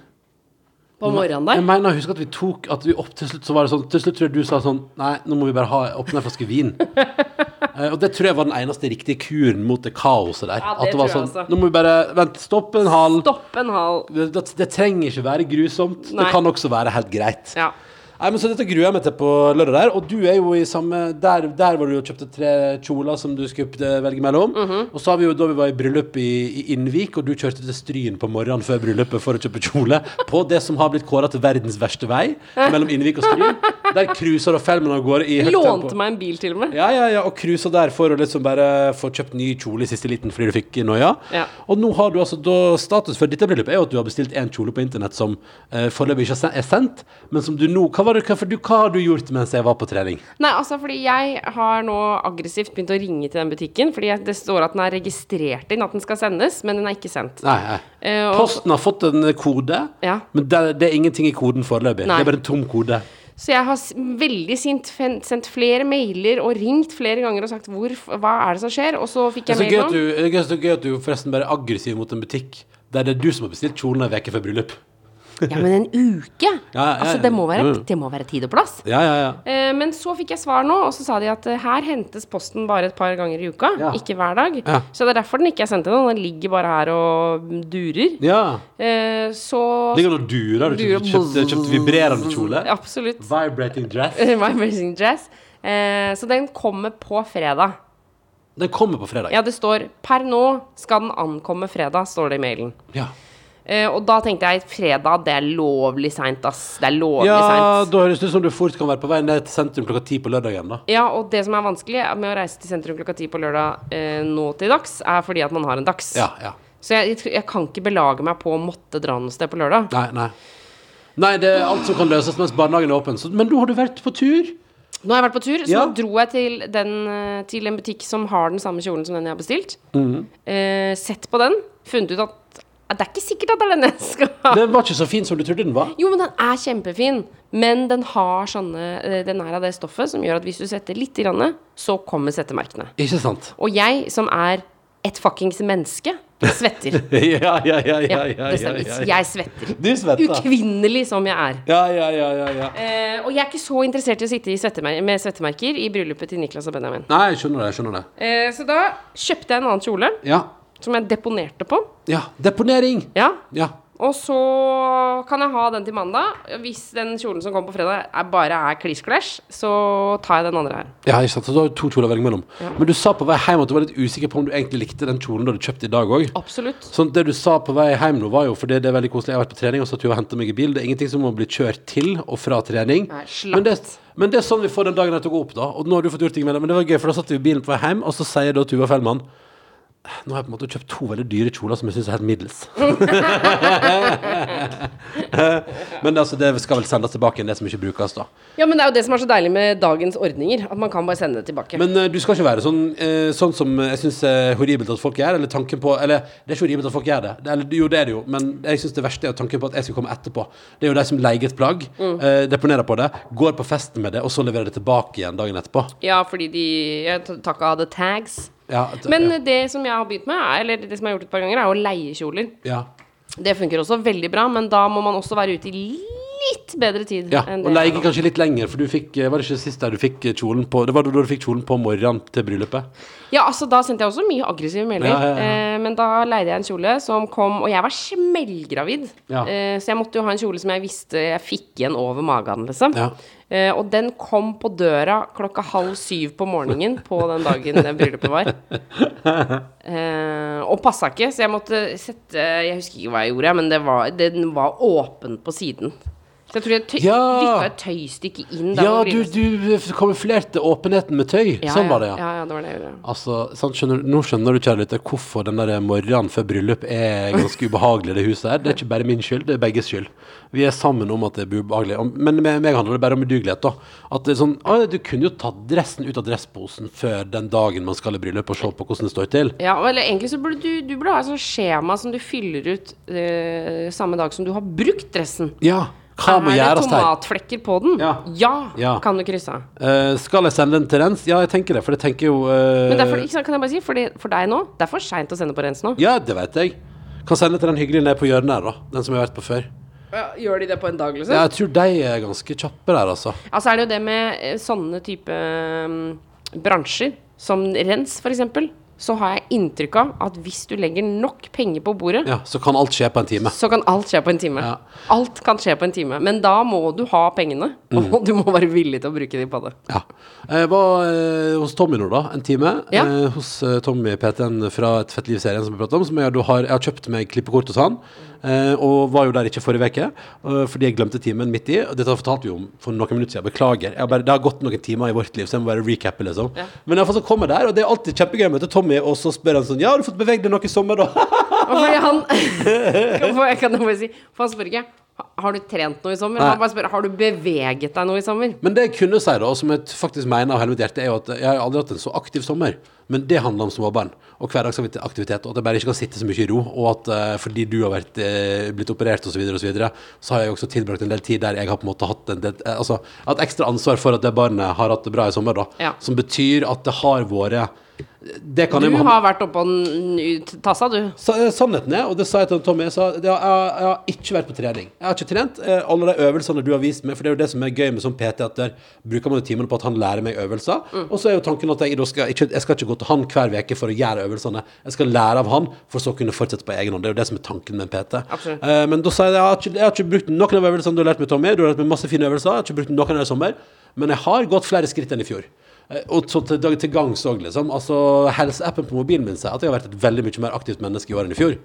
Speaker 4: På morgenen
Speaker 3: Jeg
Speaker 4: der.
Speaker 3: mener, husk at vi tok at vi opp til slutt så var det sånn Til slutt tror jeg du sa sånn Nei, nå må vi bare ha åpne en flaske vin. Eh, og det tror jeg var den eneste riktige kuren mot det kaoset der.
Speaker 4: Ja, det
Speaker 3: at det var
Speaker 4: tror
Speaker 3: sånn
Speaker 4: jeg også.
Speaker 3: Nå må vi bare Vent, stopp en hal.
Speaker 4: Stopp en hal.
Speaker 3: Det, det, det trenger ikke være grusomt. Det
Speaker 4: Nei.
Speaker 3: kan også være helt greit.
Speaker 4: Ja.
Speaker 3: Nei, men Så dette gruer jeg meg til på lørdag der. Og du er jo i samme Der, der var du og kjøpte tre kjoler som du skulle eh, velge mellom. Og så har vi jo da vi var i bryllup i, i Innvik, og du kjørte til Stryn på morgenen før bryllupet for å kjøpe kjole på det som har blitt kåra til verdens verste vei, mellom Innvik og Stryn. Der cruiser og Felmen av gårde i høyt
Speaker 4: Lånte
Speaker 3: tempo.
Speaker 4: meg en bil, til og med.
Speaker 3: Ja, ja, ja, og cruiser der for å liksom bare få kjøpt ny kjole i siste liten fordi du fikk noia.
Speaker 4: Ja.
Speaker 3: Og nå har du altså da status for dette bryllupet er jo at du har bestilt en kjole på internett som eh, foreløpig ikke er sen- er sendt, men som du nå Hva, var det, hva, for du, hva har du gjort mens jeg var på trening?
Speaker 4: Nei, altså fordi jeg har nå aggressivt begynt å ringe til den butikken, fordi jeg- det står at den er registrert inn, at den skal sendes, men den er ikke sendt.
Speaker 3: Nei, nei.
Speaker 4: Eh, og-
Speaker 3: Posten har fått en kode,
Speaker 4: Ja.
Speaker 3: men det, det er ingenting i koden foreløpig. Det
Speaker 4: Nei.
Speaker 3: er bare en tom kode.
Speaker 4: Så jeg har s- veldig sint fen- sendt flere mailer og ringt flere ganger og sagt hvor, hva er det som skjer, og så fikk
Speaker 3: Det er så
Speaker 4: jeg mail
Speaker 3: gøy
Speaker 4: nå.
Speaker 3: at du, det er så gøy at du forresten bare er aggressiv mot en butikk der det er du som har bestilt kjolen en uke før bryllup.
Speaker 4: Ja, men en uke?
Speaker 3: Ja, Mm. ja,
Speaker 4: Altså, det må,
Speaker 3: ja,
Speaker 4: være,
Speaker 3: ja.
Speaker 4: det må være tid og plass.
Speaker 3: Ja, ja, ja.
Speaker 4: Eh, Men så fikk jeg svar nå, og så sa de at eh, her hentes posten bare et par ganger i uka.
Speaker 3: Ja.
Speaker 4: Ikke hver dag.
Speaker 3: Ja.
Speaker 4: Så det er derfor den ikke er sendt ennå. Den ligger bare her og durer.
Speaker 3: ja.
Speaker 4: Eh, Så
Speaker 3: Det går an å dure. Har du
Speaker 4: Dure-
Speaker 3: kjøpt, kjøpt, kjøpt vibrerende kjole?
Speaker 4: Absolutt.
Speaker 3: Vibrating dress.
Speaker 4: My Amazing Jazz. Eh, Så den kommer på fredag.
Speaker 3: Den kommer på fredag.
Speaker 4: Ja, det står 'per nå skal den ankomme fredag', står det i mailen.
Speaker 3: Ja.
Speaker 4: Eh, Eh, og da tenkte jeg fredag, det er lovlig seint, ass. Det er lovlig
Speaker 3: Ja,
Speaker 4: seint.
Speaker 3: da høres det ut som du fort kan være på vei ned til sentrum klokka ti på lørdagen, da.
Speaker 4: Ja, og det som er vanskelig med å reise til sentrum klokka ti på lørdag eh, nå til dags, er fordi at man har en dags.
Speaker 3: Ja, ja.
Speaker 4: Så jeg, jeg, tror- jeg kan ikke belage meg på å måtte dra noe sted på lørdag.
Speaker 3: Nei, nei. Nei, det er alt som kan løses mens barnehagen er åpen. Så, men nå har du vært på tur.
Speaker 4: Nå har jeg vært på tur, så
Speaker 3: Ja.
Speaker 4: nå dro jeg til, den, eh, til en butikk som har den samme kjolen som den jeg har bestilt.
Speaker 3: Mhm.
Speaker 4: eh, sett på den, funnet ut at eh, det er ikke sikkert at det er den jeg skal ha.
Speaker 3: Den var ikke så fin som du trodde den var.
Speaker 4: Jo, men den er kjempefin. Men den har sånne eh, Den er av det stoffet som gjør at hvis du setter litt, grann, så kommer settemerkene.
Speaker 3: Ikke sant?
Speaker 4: Og jeg, som er et fuckings menneske, svetter.
Speaker 3: Ja, ja, ja, ja,
Speaker 4: Ja,
Speaker 3: ja,
Speaker 4: det
Speaker 3: ja,
Speaker 4: stemmer.
Speaker 3: ja,
Speaker 4: Jeg svetter.
Speaker 3: Du svetter.
Speaker 4: Ukvinnelig som jeg er.
Speaker 3: Ja, ja, ja, ja, ja.
Speaker 4: Eh, og jeg er ikke så interessert i å sitte i svettemer med svettemerker i bryllupet til Niklas og Benjamin.
Speaker 3: Nei, jeg skjønner det. jeg skjønner det.
Speaker 4: Eh, så da kjøpte jeg en annen kjole,
Speaker 3: Ja.
Speaker 4: som jeg deponerte på.
Speaker 3: ja. Deponering.
Speaker 4: Ja,
Speaker 3: Ja.
Speaker 4: Og så kan jeg ha den til mandag. Hvis den kjolen som kommer på fredag er bare er klisj-klæsj, så tar jeg den andre her.
Speaker 3: Ja, ikke sant? Så du har jo to kjoler å velge mellom. Men du sa på vei hjem at du var litt usikker på om du egentlig likte den kjolen du hadde kjøpt i dag òg.
Speaker 4: Absolutt.
Speaker 3: Sånn, det du sa på vei hjem nå, var jo fordi det er veldig koselig. Jeg har vært på trening og satt jo og hentet meg i bil. Det er ingenting som må bli kjørt til og fra trening.
Speaker 4: Nei, slapt.
Speaker 3: men, det, men det er sånn vi får den dagen etter å gå opp, da. Og nå har du fått gjort ting med det. Men det var gøy, for da satt vi i bilen på vei hjem, og så sier da Tuva Fellmann nå har jeg på en måte kjøpt to veldig dyre kjoler som jeg syns er helt middels. Men altså, det skal vel sendes tilbake igjen, det som ikke brukes, da.
Speaker 4: Ja, men det er jo det som er så deilig med dagens ordninger. At man kan bare sende det tilbake.
Speaker 3: Men eh, du skal ikke være sånn, eh, sånn som jeg syns er horribelt at folk gjør, eller tanken på Eller det er ikke horribelt at folk gjør det, det er, jo det er det jo, men jeg syns det verste er tanken på at jeg skal komme etterpå. Det er jo de som leier et plagg,
Speaker 4: Mm.
Speaker 3: eh, deponerer på det, går på festen med det, og så leverer det tilbake igjen dagen etterpå.
Speaker 4: ja, fordi de jeg t- takka the tags.
Speaker 3: Ja, at-
Speaker 4: Men det som jeg har begynt med, er, eller det som jeg har gjort et par ganger, er å leie kjoler.
Speaker 3: ja.
Speaker 4: Det funker også veldig bra, men da må man også være ute i litt bedre tid.
Speaker 3: ja.
Speaker 4: enn
Speaker 3: Og
Speaker 4: det jeg
Speaker 3: leie
Speaker 4: er nå.
Speaker 3: kanskje litt lenger, for du fikk eh, Var det ikke sist der du fikk eh, kjolen på Det var da du fikk kjolen på morgenen til bryllupet?
Speaker 4: Ja, altså da sendte jeg også mye aggressive meldinger.
Speaker 3: Ja, ja, ja.
Speaker 4: Eh, men da leide jeg en kjole som kom Og jeg var smellgravid.
Speaker 3: Ja.
Speaker 4: Eh, så jeg måtte jo ha en kjole som jeg visste jeg fikk igjen over magen, liksom.
Speaker 3: Ja.
Speaker 4: Eh, og den kom på døra klokka halv syv på morgenen på den dagen det bryllupet var. Eh, og passa ikke, så jeg måtte sette Jeg husker ikke hva jeg gjorde, men det var, den var åpen på siden. Så jeg tror jeg tøy,
Speaker 3: Ja.
Speaker 4: dytta et tøystykke inn der.
Speaker 3: Ja,
Speaker 4: hvor
Speaker 3: du,
Speaker 4: bryllups-
Speaker 3: du eh, kamuflerte åpenheten med tøy.
Speaker 4: Ja,
Speaker 3: sånn var det,
Speaker 4: ja. Ja, det var det jeg gjorde.
Speaker 3: Altså, sant, skjønner, Nå skjønner du kjære lytter, hvorfor den der morgenen før bryllup er ganske ubehagelig. Det huset her. Det er ikke bare min skyld, det er begges skyld. Vi er sammen om at det blir ubehagelig. Om- Men med meg handler det bare om udugelighet. da. At det er sånn, «Å, Du kunne jo tatt dressen ut av dressposen før den dagen man skal i bryllup, og se på hvordan det står til.
Speaker 4: Ja, og eller egentlig så burde du, du burde ha et sånt skjema som du fyller ut eh, samme dag som du har brukt dressen.
Speaker 3: Ja, hva må
Speaker 4: er det
Speaker 3: gjøres her?
Speaker 4: tomatflekker på den?
Speaker 3: Ja. Ja.
Speaker 4: kan du krysse av.
Speaker 3: Eh, skal jeg sende den til rens? Ja, jeg tenker det, for jeg tenker jo eh,
Speaker 4: Men derfor, ikke sant, kan jeg bare si, for, det, for deg nå, det er for seint å sende på rens nå.
Speaker 3: Ja, det vet jeg. Kan sende til den hyggelige nede på hjørnet her, da. Den som jeg har vært på før.
Speaker 4: Gjør de det på en dag, liksom?
Speaker 3: Ja, jeg tror de er ganske kjappe der, altså.
Speaker 4: Altså er det jo det med eh, sånne type mm, bransjer, som rens f.eks., så har jeg inntrykk av at hvis du legger nok penger på bordet,
Speaker 3: Ja, Så kan alt skje på en time.
Speaker 4: så kan alt skje på en time.
Speaker 3: Ja.
Speaker 4: Alt kan skje på en time. Men da må du ha pengene,
Speaker 3: Mm.
Speaker 4: og du må være villig til å bruke de på det.
Speaker 3: Ja. Jeg var eh, hos Tommy nå, da, en time.
Speaker 4: Ja.
Speaker 3: Eh, hos eh, Tommy PT-en fra Et fett liv-serien som vi pratet om. Som jeg, da har, jeg har kjøpt meg klippekort hos han, eh, og var jo der ikke forrige uke. eh, fordi jeg glemte timen midt i. Og Dette fortalte vi om for noen minutter siden. Beklager. Jeg har bare, det har gått noen timer i vårt liv, så jeg må bare recappe, liksom. Men iallfall så kommer jeg der, og det er alltid kjempegøy å møte Tommy, og så spør han sånn Ja, har du fått beveget deg noe i sommer, da?
Speaker 4: Og fordi han Kan jeg- Kan jeg bare si For han spør ikke Har du trent noe i sommer?
Speaker 3: Nei.
Speaker 4: Han bare spør Har du beveget deg noe i sommer?
Speaker 3: Men det jeg kunne si, da, og som jeg faktisk mener av hele mitt hjerte, er jo at jeg har aldri hatt en så aktiv sommer. Men det handler om småbarn og hverdagsaktivitet, og at jeg bare ikke kan sitte så mye i ro. Og at eh, fordi du har vært, eh, blitt operert osv., så, videre og så, videre, så har jeg også tilbrakt en del tid der jeg har på en måte hatt en del, eh, altså, hatt ekstra ansvar for at det barnet har hatt det bra i sommer. da.
Speaker 4: Ja.
Speaker 3: Som betyr at det har vært det kan
Speaker 4: Du
Speaker 3: jeg,
Speaker 4: har vært oppå den ut- tassa, du.
Speaker 3: Sa- eh, Sannheten er, og det sa jeg til Tommy, jeg, sa, jeg, har, jeg har ikke vært på trening. Jeg har ikke trent eh, alle de øvelsene du har vist meg, for det er jo det som er gøy med sånn PT, at der bruker man jo timene på at han lærer meg øvelser. Og så er jo tanken at jeg, da skal, ikke, jeg skal ikke gå til han hver uke for å gjøre øvelsene. Jeg skal lære av han, for så å kunne fortsette på egen hånd. Det er jo det som er tanken med en PT.
Speaker 4: Absolutt.
Speaker 3: Eh, men da sa jeg jeg har, ikke, jeg har ikke brukt noen av øvelsene du har lært meg, Tommy. Du har lært meg masse fine øvelser. Jeg har ikke brukt noen av det i sommer, men jeg har gått flere skritt enn i fjor. Eh, Og så til, til gangs òg, liksom. Altså, helseappen på mobilen min sier at jeg har vært et veldig mye mer aktivt menneske i år enn i fjor.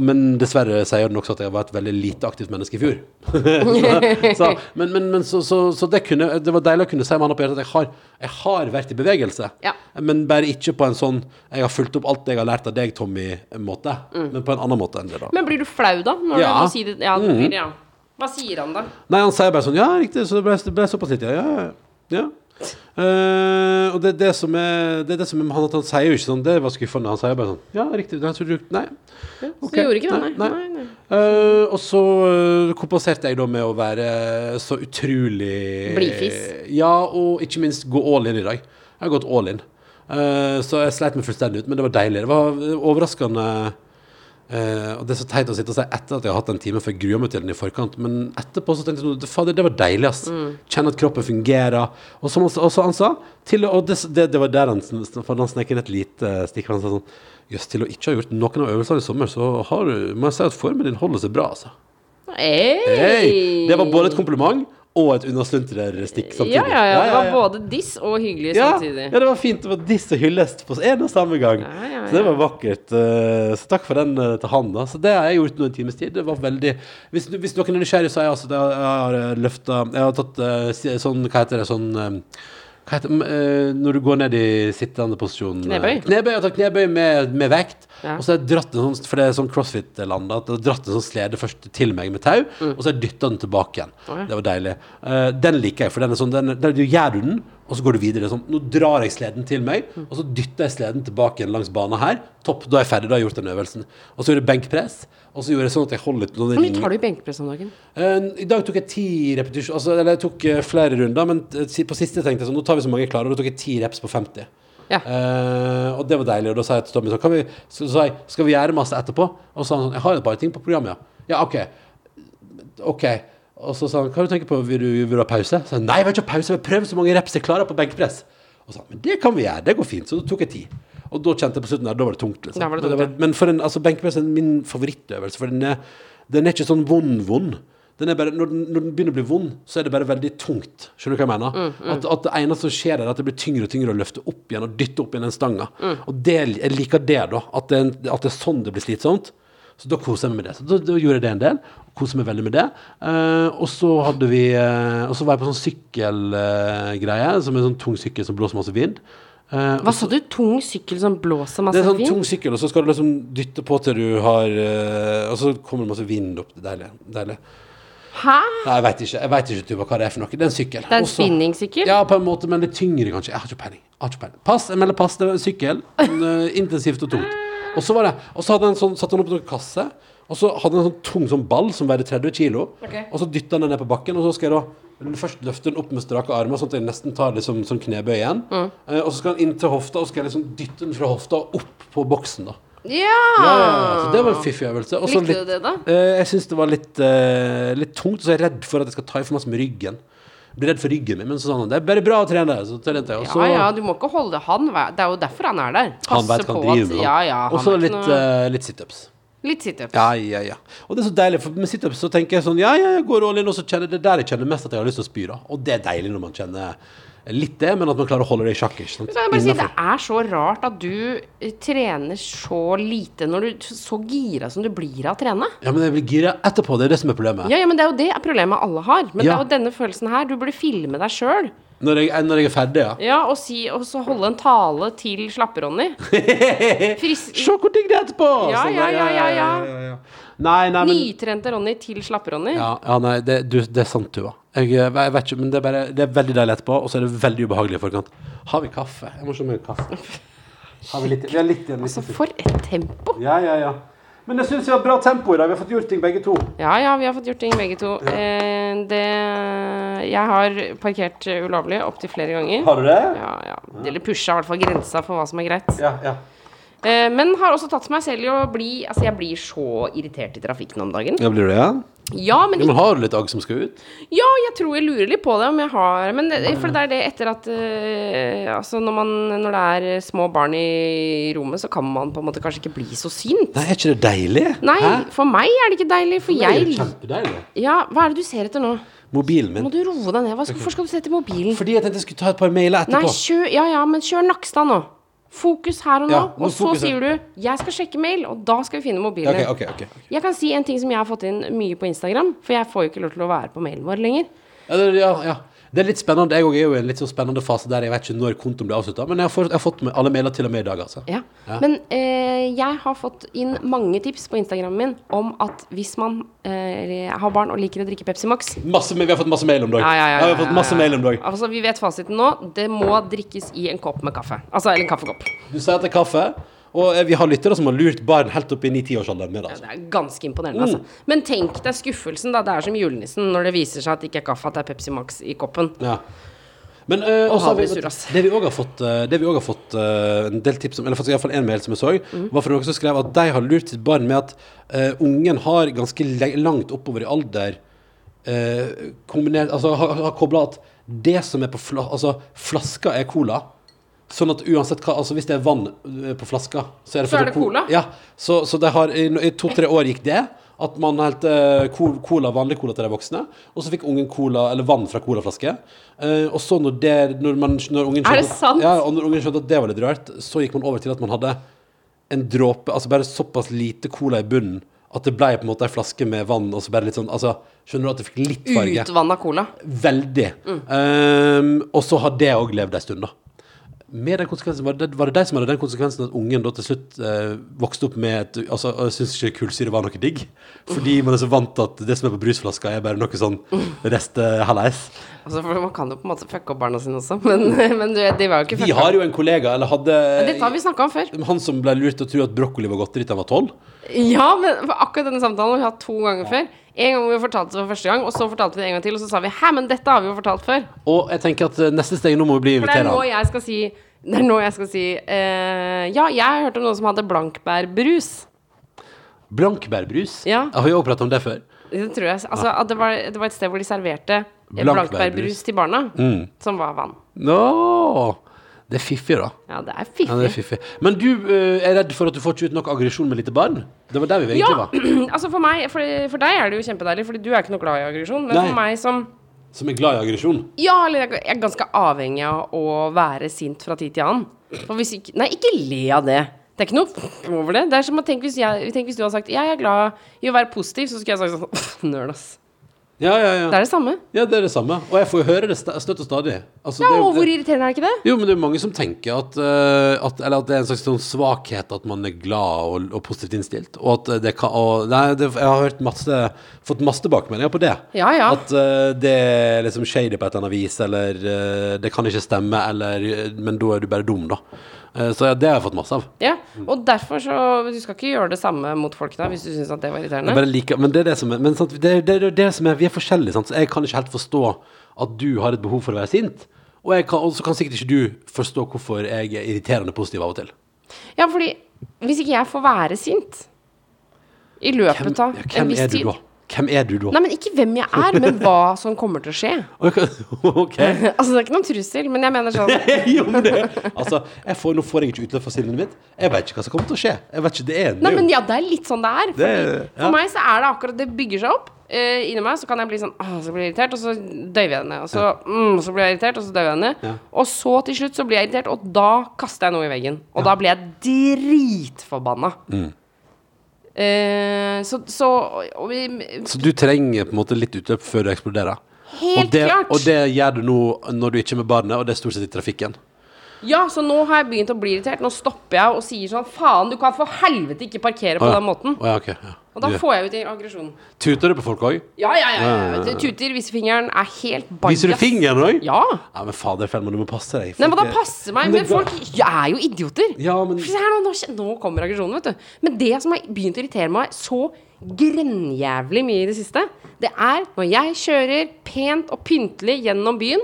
Speaker 3: Men dessverre sier den også at jeg var et veldig lite aktivt menneske i fjor. så, så, men men, men så, så, så det, kunne, det var deilig å kunne si med hånda på hjertet at jeg har, jeg har vært i bevegelse.
Speaker 4: Ja.
Speaker 3: Men bare ikke på en sånn 'jeg har fulgt opp alt jeg har lært av deg, Tommy'-måte. Men på en annen måte enn det, da.
Speaker 4: Men blir du flau, da? Når
Speaker 3: Ja. Mm.
Speaker 4: du må si det? Ja, det blir, det, ja. Hva sier han, da?
Speaker 3: Nei, han sier bare sånn Ja, riktig, så det ble, det ble såpass litt, ja. ja, ja, ja. Eh, og det er det som er Det er det som er, han, han sier jo ikke sånn Det var skuffende. Han sier bare sånn Ja, riktig. Jeg tror du Nei.
Speaker 4: Så
Speaker 3: ok,
Speaker 4: gjorde ikke det, nei. nei, nei.
Speaker 3: Eh, og så eh, kompenserte jeg da med å være så utrolig
Speaker 4: Blidfis.
Speaker 3: Ja, og ikke minst gå all in i dag. Jeg har gått all in. Eh, så jeg sleit meg fullstendig ut, men det var deilig. Det var eh, overraskende eh, Og det er så teit å sitte og si etter at jeg har hatt en time, for jeg gruer meg til den i forkant. Men etterpå så tenkte jeg sånn Fader, det var deilig, ass. Kjenne at kroppen fungerer. Og som han, sa- og så han sa til, å- Og det, det, det var der han, sn- sn- for han snek inn et lite stikk. for Han sa sånn Jøss, til å ikke ha gjort noen av øvelsene i sommer, så har du, må jeg si at formen din holder seg bra, altså.
Speaker 4: Hey.
Speaker 3: Hei! Det var både et kompliment og et unnastunterer-stikk samtidig.
Speaker 4: Ja, ja, ja. Det var både diss og hyggelig
Speaker 3: ja,
Speaker 4: samtidig.
Speaker 3: ja, det var fint. Det var diss og hyllest på en og samme gang.
Speaker 4: Ja, ja, ja.
Speaker 3: Så det var vakkert. eh, Så takk for den eh, til han, da. Så det har jeg gjort nå en times tid. Det var veldig Hvis, hvis noen er nysgjerrig, så har jeg altså det, Jeg har eh, løftet Jeg har tatt eh, si- sånn Hva heter det? Sånn eh, hva heter, det? Eh, når du går ned i sittende posisjon eh,
Speaker 4: Knebøy?
Speaker 3: Knebøy, jeg har tatt knebøy med, med vekt
Speaker 4: Ja.
Speaker 3: Og så har jeg dratt en sånn For det er sånn crossfit-land da, At jeg har dratt en sånn slede først til meg med tau
Speaker 4: Mm.
Speaker 3: Og så har jeg dyttet den tilbake igjen Det var deilig Eh, Den liker jeg For den er sånn den, er- der Du gjør du den Og så går du videre Det er sånn Nå drar jeg sleden til meg
Speaker 4: Mm.
Speaker 3: Og så dytter jeg sleden tilbake igjen langs banen her Topp, da er jeg ferdig Da har jeg gjort den øvelsen Og så gjorde jeg benkpress Og så gjorde jeg sånn at jeg holder litt
Speaker 4: Hvor mye tar du i benkpress om dagen?
Speaker 3: Eh, I dag tok jeg ti repetisjoner altså, Eller jeg tok eh, flere runder Men eh, si- på siste tenkte jeg sånn Nå tar vi så mange jeg klarer Og da tok jeg ti reps på 50
Speaker 4: Ja.
Speaker 3: Eh, Og det var deilig Og da sa jeg til Tommy sånn kan vi, Så så sa jeg Skal vi gjøre masse etterpå? Og så sa han sånn Jeg har et par ting på programmet ja Ja, ok Ok Og så sa han Hva har du tenker på? Vil du, vil du ha pause? Så sa han Nei, jeg vil ikke ha pause Jeg vil prøve så mange reps jeg klarer på benkpress Og så sa han Men det kan vi gjøre Det går fint Så da tok jeg ti Og da kjente jeg på slutten der Da var det tungt liksom
Speaker 4: Da var det
Speaker 3: Men
Speaker 4: tungt, ja.
Speaker 3: men for en, altså benkpress er min favorittøvelse, for den er, den er ikke sånn vond-vond. Den er bare, når, den, når den begynner å bli vond, så er det bare veldig tungt. Skjønner du hva jeg mener? At, at det eneste som skjer, er at det blir tyngre og tyngre å løfte opp igjen og dytte opp igjen den stanga. Og det, jeg liker det, da. At det, er en- at det er sånn det blir slitsomt. Så da koser jeg meg med det. Så da, da gjorde jeg det en del. Koser meg veldig med det. Eh, og så hadde vi eh, Og så var jeg på sånn sykkelgreie, som er en sånn tung sykkel som blåser masse vind. Eh,
Speaker 4: Hva sa du? Tung sykkel som blåser masse
Speaker 3: det er sånn
Speaker 4: Altså, vind?
Speaker 3: tung sykkel, og så skal du liksom dytte på til du har eh, Og så kommer det masse vind opp. Det er Deilig. deilig.
Speaker 4: Hæ?
Speaker 3: Nei, jeg veit ikke, jeg vet ikke Tuva, hva det er for noe. Det er en sykkel.
Speaker 4: Det er en
Speaker 3: Også-
Speaker 4: spinningsykkel?
Speaker 3: Ja, på en måte, men litt tyngre, kanskje. Jeg har ikke peiling. Jeg har ikke peiling. Pass, jeg melder pass. Det var en sykkel. Men, eh, intensivt og tungt. Og så var det Og så hadde han sånn, satte han opp noen kasser, og så hadde han en sånn tung sånn ball som veide 30 kilo,
Speaker 4: Ok.
Speaker 3: og så dytta han den ned på bakken, og så skal jeg da Først løfte den opp med strake armer, sånn at jeg nesten tar liksom, sånn knebøy igjen.
Speaker 4: Mm.
Speaker 3: Eh, og så skal han inn til hofta, og så skal jeg liksom dytte den fra hofta og opp på boksen, da.
Speaker 4: Ja!
Speaker 3: Ja, ja, ja. Så det var en fiffig øvelse. Og så
Speaker 4: Ah. Likte du
Speaker 3: litt-
Speaker 4: det da?
Speaker 3: Eh, jeg syns det var litt, eh, litt tungt, så jeg er redd for at jeg skal ta i for masse med ryggen. Jeg blir redd for ryggen min, men så sa han det er bare bra å trene. Så trente jeg. Og så,
Speaker 4: Ja, ja, du må ikke holde han vær- Det er jo derfor han er der.
Speaker 3: han vet
Speaker 4: Passe
Speaker 3: hva han
Speaker 4: på at-
Speaker 3: driver med.
Speaker 4: Ja, ja,
Speaker 3: og
Speaker 4: han
Speaker 3: så
Speaker 4: er ikke
Speaker 3: litt,
Speaker 4: noe-
Speaker 3: eh, litt situps.
Speaker 4: Litt situps.
Speaker 3: Ja, ja, ja. Og det er så deilig, for med situps så tenker jeg sånn Ja, ja, jeg går all in, og så kjenner det der jeg kjenner mest at jeg har lyst til å spy, da. Og det er deilig når man kjenner litt det, men at man klarer å holde det i sjakk. Ikke sant?
Speaker 4: Så kan jeg bare si, det
Speaker 3: Innenfor.
Speaker 4: er så rart at du eh, trener så lite når du er så gira som du blir av å trene.
Speaker 3: Ja, men jeg blir gira etterpå, det er det som er problemet.
Speaker 4: Ja, ja, men det er jo det problemet alle har. Men det
Speaker 3: Ja.
Speaker 4: er jo denne følelsen her. Du burde filme deg sjøl.
Speaker 3: Når, jeg, når jeg er ferdig, ja.
Speaker 4: Ja, og, si, og så holde en tale til Slappe-Ronny. Fris-
Speaker 3: Se hvor digg det er etterpå!
Speaker 4: Ja,
Speaker 3: Sånn,
Speaker 4: ja, ja, ja, ja.
Speaker 3: Nei, nei, men
Speaker 4: Nytrente Ronny til Slappe-Ronny.
Speaker 3: ja, ja, nei, det, du, det er sant, Tuva. Jeg, eh, jeg vet ikke, men det er, bare, det er veldig deilig etterpå, og så er det veldig ubehagelig i forkant. Har vi kaffe? Jeg må se om vi har kaffe. Har vi, litt, vi har litt igjen.
Speaker 4: Så
Speaker 3: Litt.
Speaker 4: Altså, for et tempo!
Speaker 3: Ja, ja, ja. Men jeg syns vi har bra tempo i dag. Vi har fått gjort ting, begge to.
Speaker 4: Ja ja, vi har fått gjort ting begge to. Eh, det Jeg har parkert eh, ulovlig opptil flere ganger.
Speaker 3: Har du det?
Speaker 4: Ja, ja. Eller pusha i hvert fall grensa for hva som er greit.
Speaker 3: Ja, ja.
Speaker 4: Eh, men har også tatt meg selv i å bli Altså, jeg blir så irritert i trafikken om dagen.
Speaker 3: Ja, blir du det? Ja?
Speaker 4: Ja, men
Speaker 3: Men har du litt agg som skal ut?
Speaker 4: Ja, jeg tror jeg lurer litt på det om jeg har Men det, for det er det etter at eh, Altså når, man, når det er eh, små barn i rommet, så kan man på en måte kanskje ikke bli så sint.
Speaker 3: Nei, er ikke det deilig?
Speaker 4: Nei,
Speaker 3: Hæ?
Speaker 4: for meg er det ikke deilig, for
Speaker 3: Det er jo
Speaker 4: jeg
Speaker 3: kjempedeilig.
Speaker 4: Ja, hva er det du ser etter nå?
Speaker 3: Mobilen
Speaker 4: Må
Speaker 3: min.
Speaker 4: du roe deg ned? Hva skal, hvorfor skal du se etter mobilen?
Speaker 3: Fordi jeg tenkte jeg skulle ta et par mailer
Speaker 4: Nei,
Speaker 3: etterpå.
Speaker 4: kjør Ja ja, men kjør Nakstad nå. Fokus her og nå.
Speaker 3: Ja, nå
Speaker 4: og så
Speaker 3: fokus her.
Speaker 4: sier du 'jeg skal sjekke mail', og da skal vi finne mobilen.
Speaker 3: Ok, ok, ok.
Speaker 4: Jeg kan si en ting som jeg har fått inn mye på Instagram, for jeg får jo ikke lov til å være på mailen vår lenger.
Speaker 3: Ja, det, ja, ja. det er litt spennende. Jeg også er jo i en litt sånn spennende fase der jeg vet ikke når kontoen blir avslutta, men jeg har, fått- jeg har fått med alle mailer til og med i dag, altså.
Speaker 4: Ja. Men eh, jeg har fått inn mange tips på Instagrammen min om at hvis man eh, har barn og liker å drikke Pepsi Max
Speaker 3: Masse, vi har fått masse mail om dag.
Speaker 4: Ja, ja, ja,
Speaker 3: vi har fått masse
Speaker 4: ja, ja.
Speaker 3: mail om dag.
Speaker 4: Altså, Vi vet fasiten nå. Det må drikkes i en kopp med kaffe. Altså, eller en kaffekopp.
Speaker 3: Du sier at det er kaffe, og eh, vi har lyttere som har lurt barn helt opp i 9-10-årsalderen med det.
Speaker 4: Ja,
Speaker 3: Altså.
Speaker 4: det er ganske imponerende,
Speaker 3: Mm.
Speaker 4: altså. Men tenk deg skuffelsen, da. Det er som julenissen når det viser seg at det ikke er kaffe, at det er Pepsi Max i koppen.
Speaker 3: Ja. Men eh, også, har vi-
Speaker 4: havresurr, ass.
Speaker 3: det vi òg har fått, eh, det vi også har fått eh, en del tips om, eller faktisk i hvert fall en mail som jeg så,
Speaker 4: Mhm.
Speaker 3: var fra noen som skrev at de har lurt sitt barn med at eh, ungen har ganske le- langt oppover i alder eh, kombinert Altså har, har kobla at det som er på fla, altså, flaska, er cola. Sånn at uansett hva Altså hvis det er vann eh, på flaska, så er det,
Speaker 4: Så er
Speaker 3: fortsatt
Speaker 4: det cola?
Speaker 3: Ja. Så, så det har i, i to-tre år gikk det. At man helte eh, co- cola, vanlig cola til de voksne, og så fikk ungen cola, eller vann fra colaflaske. Eh, og så når, det, når, man, når ungen
Speaker 4: Er det
Speaker 3: skjønte-
Speaker 4: sant?
Speaker 3: Ja, og når ungen skjønte at det var litt rørt, så gikk man over til at man hadde en dråpe, altså bare såpass lite cola i bunnen, at det ble på en måte en flaske med vann, og så bare litt sånn, altså, skjønner du at det fikk litt farge?
Speaker 4: Utvanna cola.
Speaker 3: Veldig. Ehm, og så har det òg levd en stund, da. Med den konsekvensen, var, det, var det de som hadde den konsekvensen at ungen da til slutt eh, vokste opp med et, altså, og syntes ikke kullsyre var noe digg? Fordi man er så vant til at det som er på brusflaska, er bare noe sånn restehallais.
Speaker 4: Altså, for Man kan jo på en måte fucke opp barna sine også, men, men du, vet, de var jo ikke
Speaker 3: Vi
Speaker 4: fucka.
Speaker 3: har jo en kollega, eller hadde
Speaker 4: Dette har vi snakka om før.
Speaker 3: Han som ble lurt til å tro at brokkoli var godteri til han var tolv.
Speaker 4: Ja, men for akkurat denne samtalen har vi hatt to ganger før. En gang hvor vi fortalte det for første gang, og så fortalte vi det en gang til, og så sa vi 'hæ, men dette har vi jo fortalt før'.
Speaker 3: Og jeg tenker at eh, neste steg nå må vi bli
Speaker 4: For det er
Speaker 3: invitert
Speaker 4: nå
Speaker 3: han.
Speaker 4: jeg skal si Det er nå jeg skal si eh, Ja, jeg hørte om noen som hadde blankbærbrus.
Speaker 3: Blankbærbrus.
Speaker 4: Ja.
Speaker 3: Jeg har jo også pratet om det før.
Speaker 4: Det tror jeg. Altså, at det, var, det var et sted hvor de serverte eh,
Speaker 3: Blankbærbrus. Mm.
Speaker 4: blankbærbrus til barna, som var vann.
Speaker 3: Nå! Det er fiffig, da.
Speaker 4: Ja, det er
Speaker 3: Ja, det er
Speaker 4: fiffig.
Speaker 3: fiffig. Men du eh, er redd for at du får ikke ut nok aggresjon med lite barn? Det var der vi
Speaker 4: Ja,
Speaker 3: egentlig var.
Speaker 4: altså for meg For, for deg er det jo kjempedeilig, Fordi du er ikke noe glad i aggresjon. Men
Speaker 3: Nei.
Speaker 4: for meg som
Speaker 3: Som er glad i aggresjon.
Speaker 4: Ja, eller jeg jeg er ganske avhengig av å være sint fra tid til annen. For hvis ikke Nei, ikke le av det. Det er ikke noe over det. Det er som å tenke hvis, jeg, tenk hvis du hadde sagt 'Jeg er glad i å være positiv', så skulle jeg sagt sånn Nøl, ass.
Speaker 3: Ja, ja,
Speaker 4: Det
Speaker 3: ja.
Speaker 4: er det samme.
Speaker 3: ja, det er det samme. Og jeg får jo høre det sta- støtt og stadig. Altså,
Speaker 4: Ja,
Speaker 3: det er jo-
Speaker 4: og hvor irriterende er ikke det?
Speaker 3: Jo, men det er jo mange som tenker at, eh, at Eller at det er en slags sånn svakhet at man er glad og, og positivt innstilt. Og at det kan og, Nei, det, jeg har hørt masse, fått masse tilbakemeldinger på det.
Speaker 4: Ja, ja.
Speaker 3: At eh, det er liksom shady på et eller annet vis, eller eh, det kan ikke stemme, eller eh, Men da er du bare dum, da. Eh, så ja, det har jeg fått masse av.
Speaker 4: Ja,
Speaker 3: Mm.
Speaker 4: og derfor så Du skal ikke gjøre det samme mot folk da, hvis du syns at det var irriterende.
Speaker 3: Jeg bare liker, men det er det som er, men sant, det, er- det, er det som er Vi er forskjellige, sant? så jeg kan ikke helt forstå at du har et behov for å være sint. Og jeg kan, og så kan sikkert ikke du forstå hvorfor jeg er irriterende positiv av og til.
Speaker 4: Ja, fordi hvis ikke jeg får være sint i løpet
Speaker 3: Hvem, ja,
Speaker 4: av en
Speaker 3: hvem
Speaker 4: viss
Speaker 3: er du
Speaker 4: tid
Speaker 3: da? Hvem er du da?
Speaker 4: Nei, men ikke hvem jeg er, men hva som kommer til å skje.
Speaker 3: Ok.
Speaker 4: Altså, det er ikke noen trussel, men jeg mener sånn
Speaker 3: jo, men det Altså, jeg får, nå får jeg ikke utløp for sinnet mitt. Jeg vet ikke hva som kommer til å skje. Jeg vet ikke, det er
Speaker 4: Nei,
Speaker 3: det er
Speaker 4: men
Speaker 3: jo-
Speaker 4: ja, det er litt sånn det er. Fordi,
Speaker 3: Det- ja.
Speaker 4: For meg så er det akkurat det bygger seg opp. eh, inni meg så kan jeg bli sånn Åh, så blir jeg irritert, og så døyver jeg henne. Og så, mm, så blir jeg irritert, og så døyver jeg henne.
Speaker 3: Ja.
Speaker 4: Og så til slutt så blir jeg irritert, og da kaster jeg noe i veggen. Og da blir jeg dritforbanna.
Speaker 3: Mm.
Speaker 4: Eh, så så og vi,
Speaker 3: Så du trenger på en måte litt utløp før du eksploderer?
Speaker 4: Helt
Speaker 3: og det,
Speaker 4: klart.
Speaker 3: Og det gjør du nå når du ikke er med barnet, og det er stort sett i trafikken.
Speaker 4: Ja, så nå har jeg begynt å bli irritert. Nå stopper jeg og sier sånn Faen, du kan for helvete ikke parkere på
Speaker 3: Å, ja.
Speaker 4: den måten.
Speaker 3: Å, ja, ok, ja.
Speaker 4: Og da
Speaker 3: Du-
Speaker 4: får jeg ut aggresjonen.
Speaker 3: Tuter du på folk òg?
Speaker 4: Ja, ja, ja. ja. ja. Tuter, visefingeren er helt bajas.
Speaker 3: Viser du fingeren òg?
Speaker 4: Ja.
Speaker 3: Nei, men fader, Fellman, du må passe deg.
Speaker 4: Nei, men da
Speaker 3: Folk er-
Speaker 4: passer meg.
Speaker 3: Men
Speaker 4: Men
Speaker 3: det er
Speaker 4: folk er jo idioter.
Speaker 3: Ja, men-
Speaker 4: For se her nå, nå, kjen- nå kommer aggresjonen, vet du. Men det som har begynt å irritere meg så grenjævlig mye i det siste, det er når jeg kjører pent og pyntelig gjennom byen,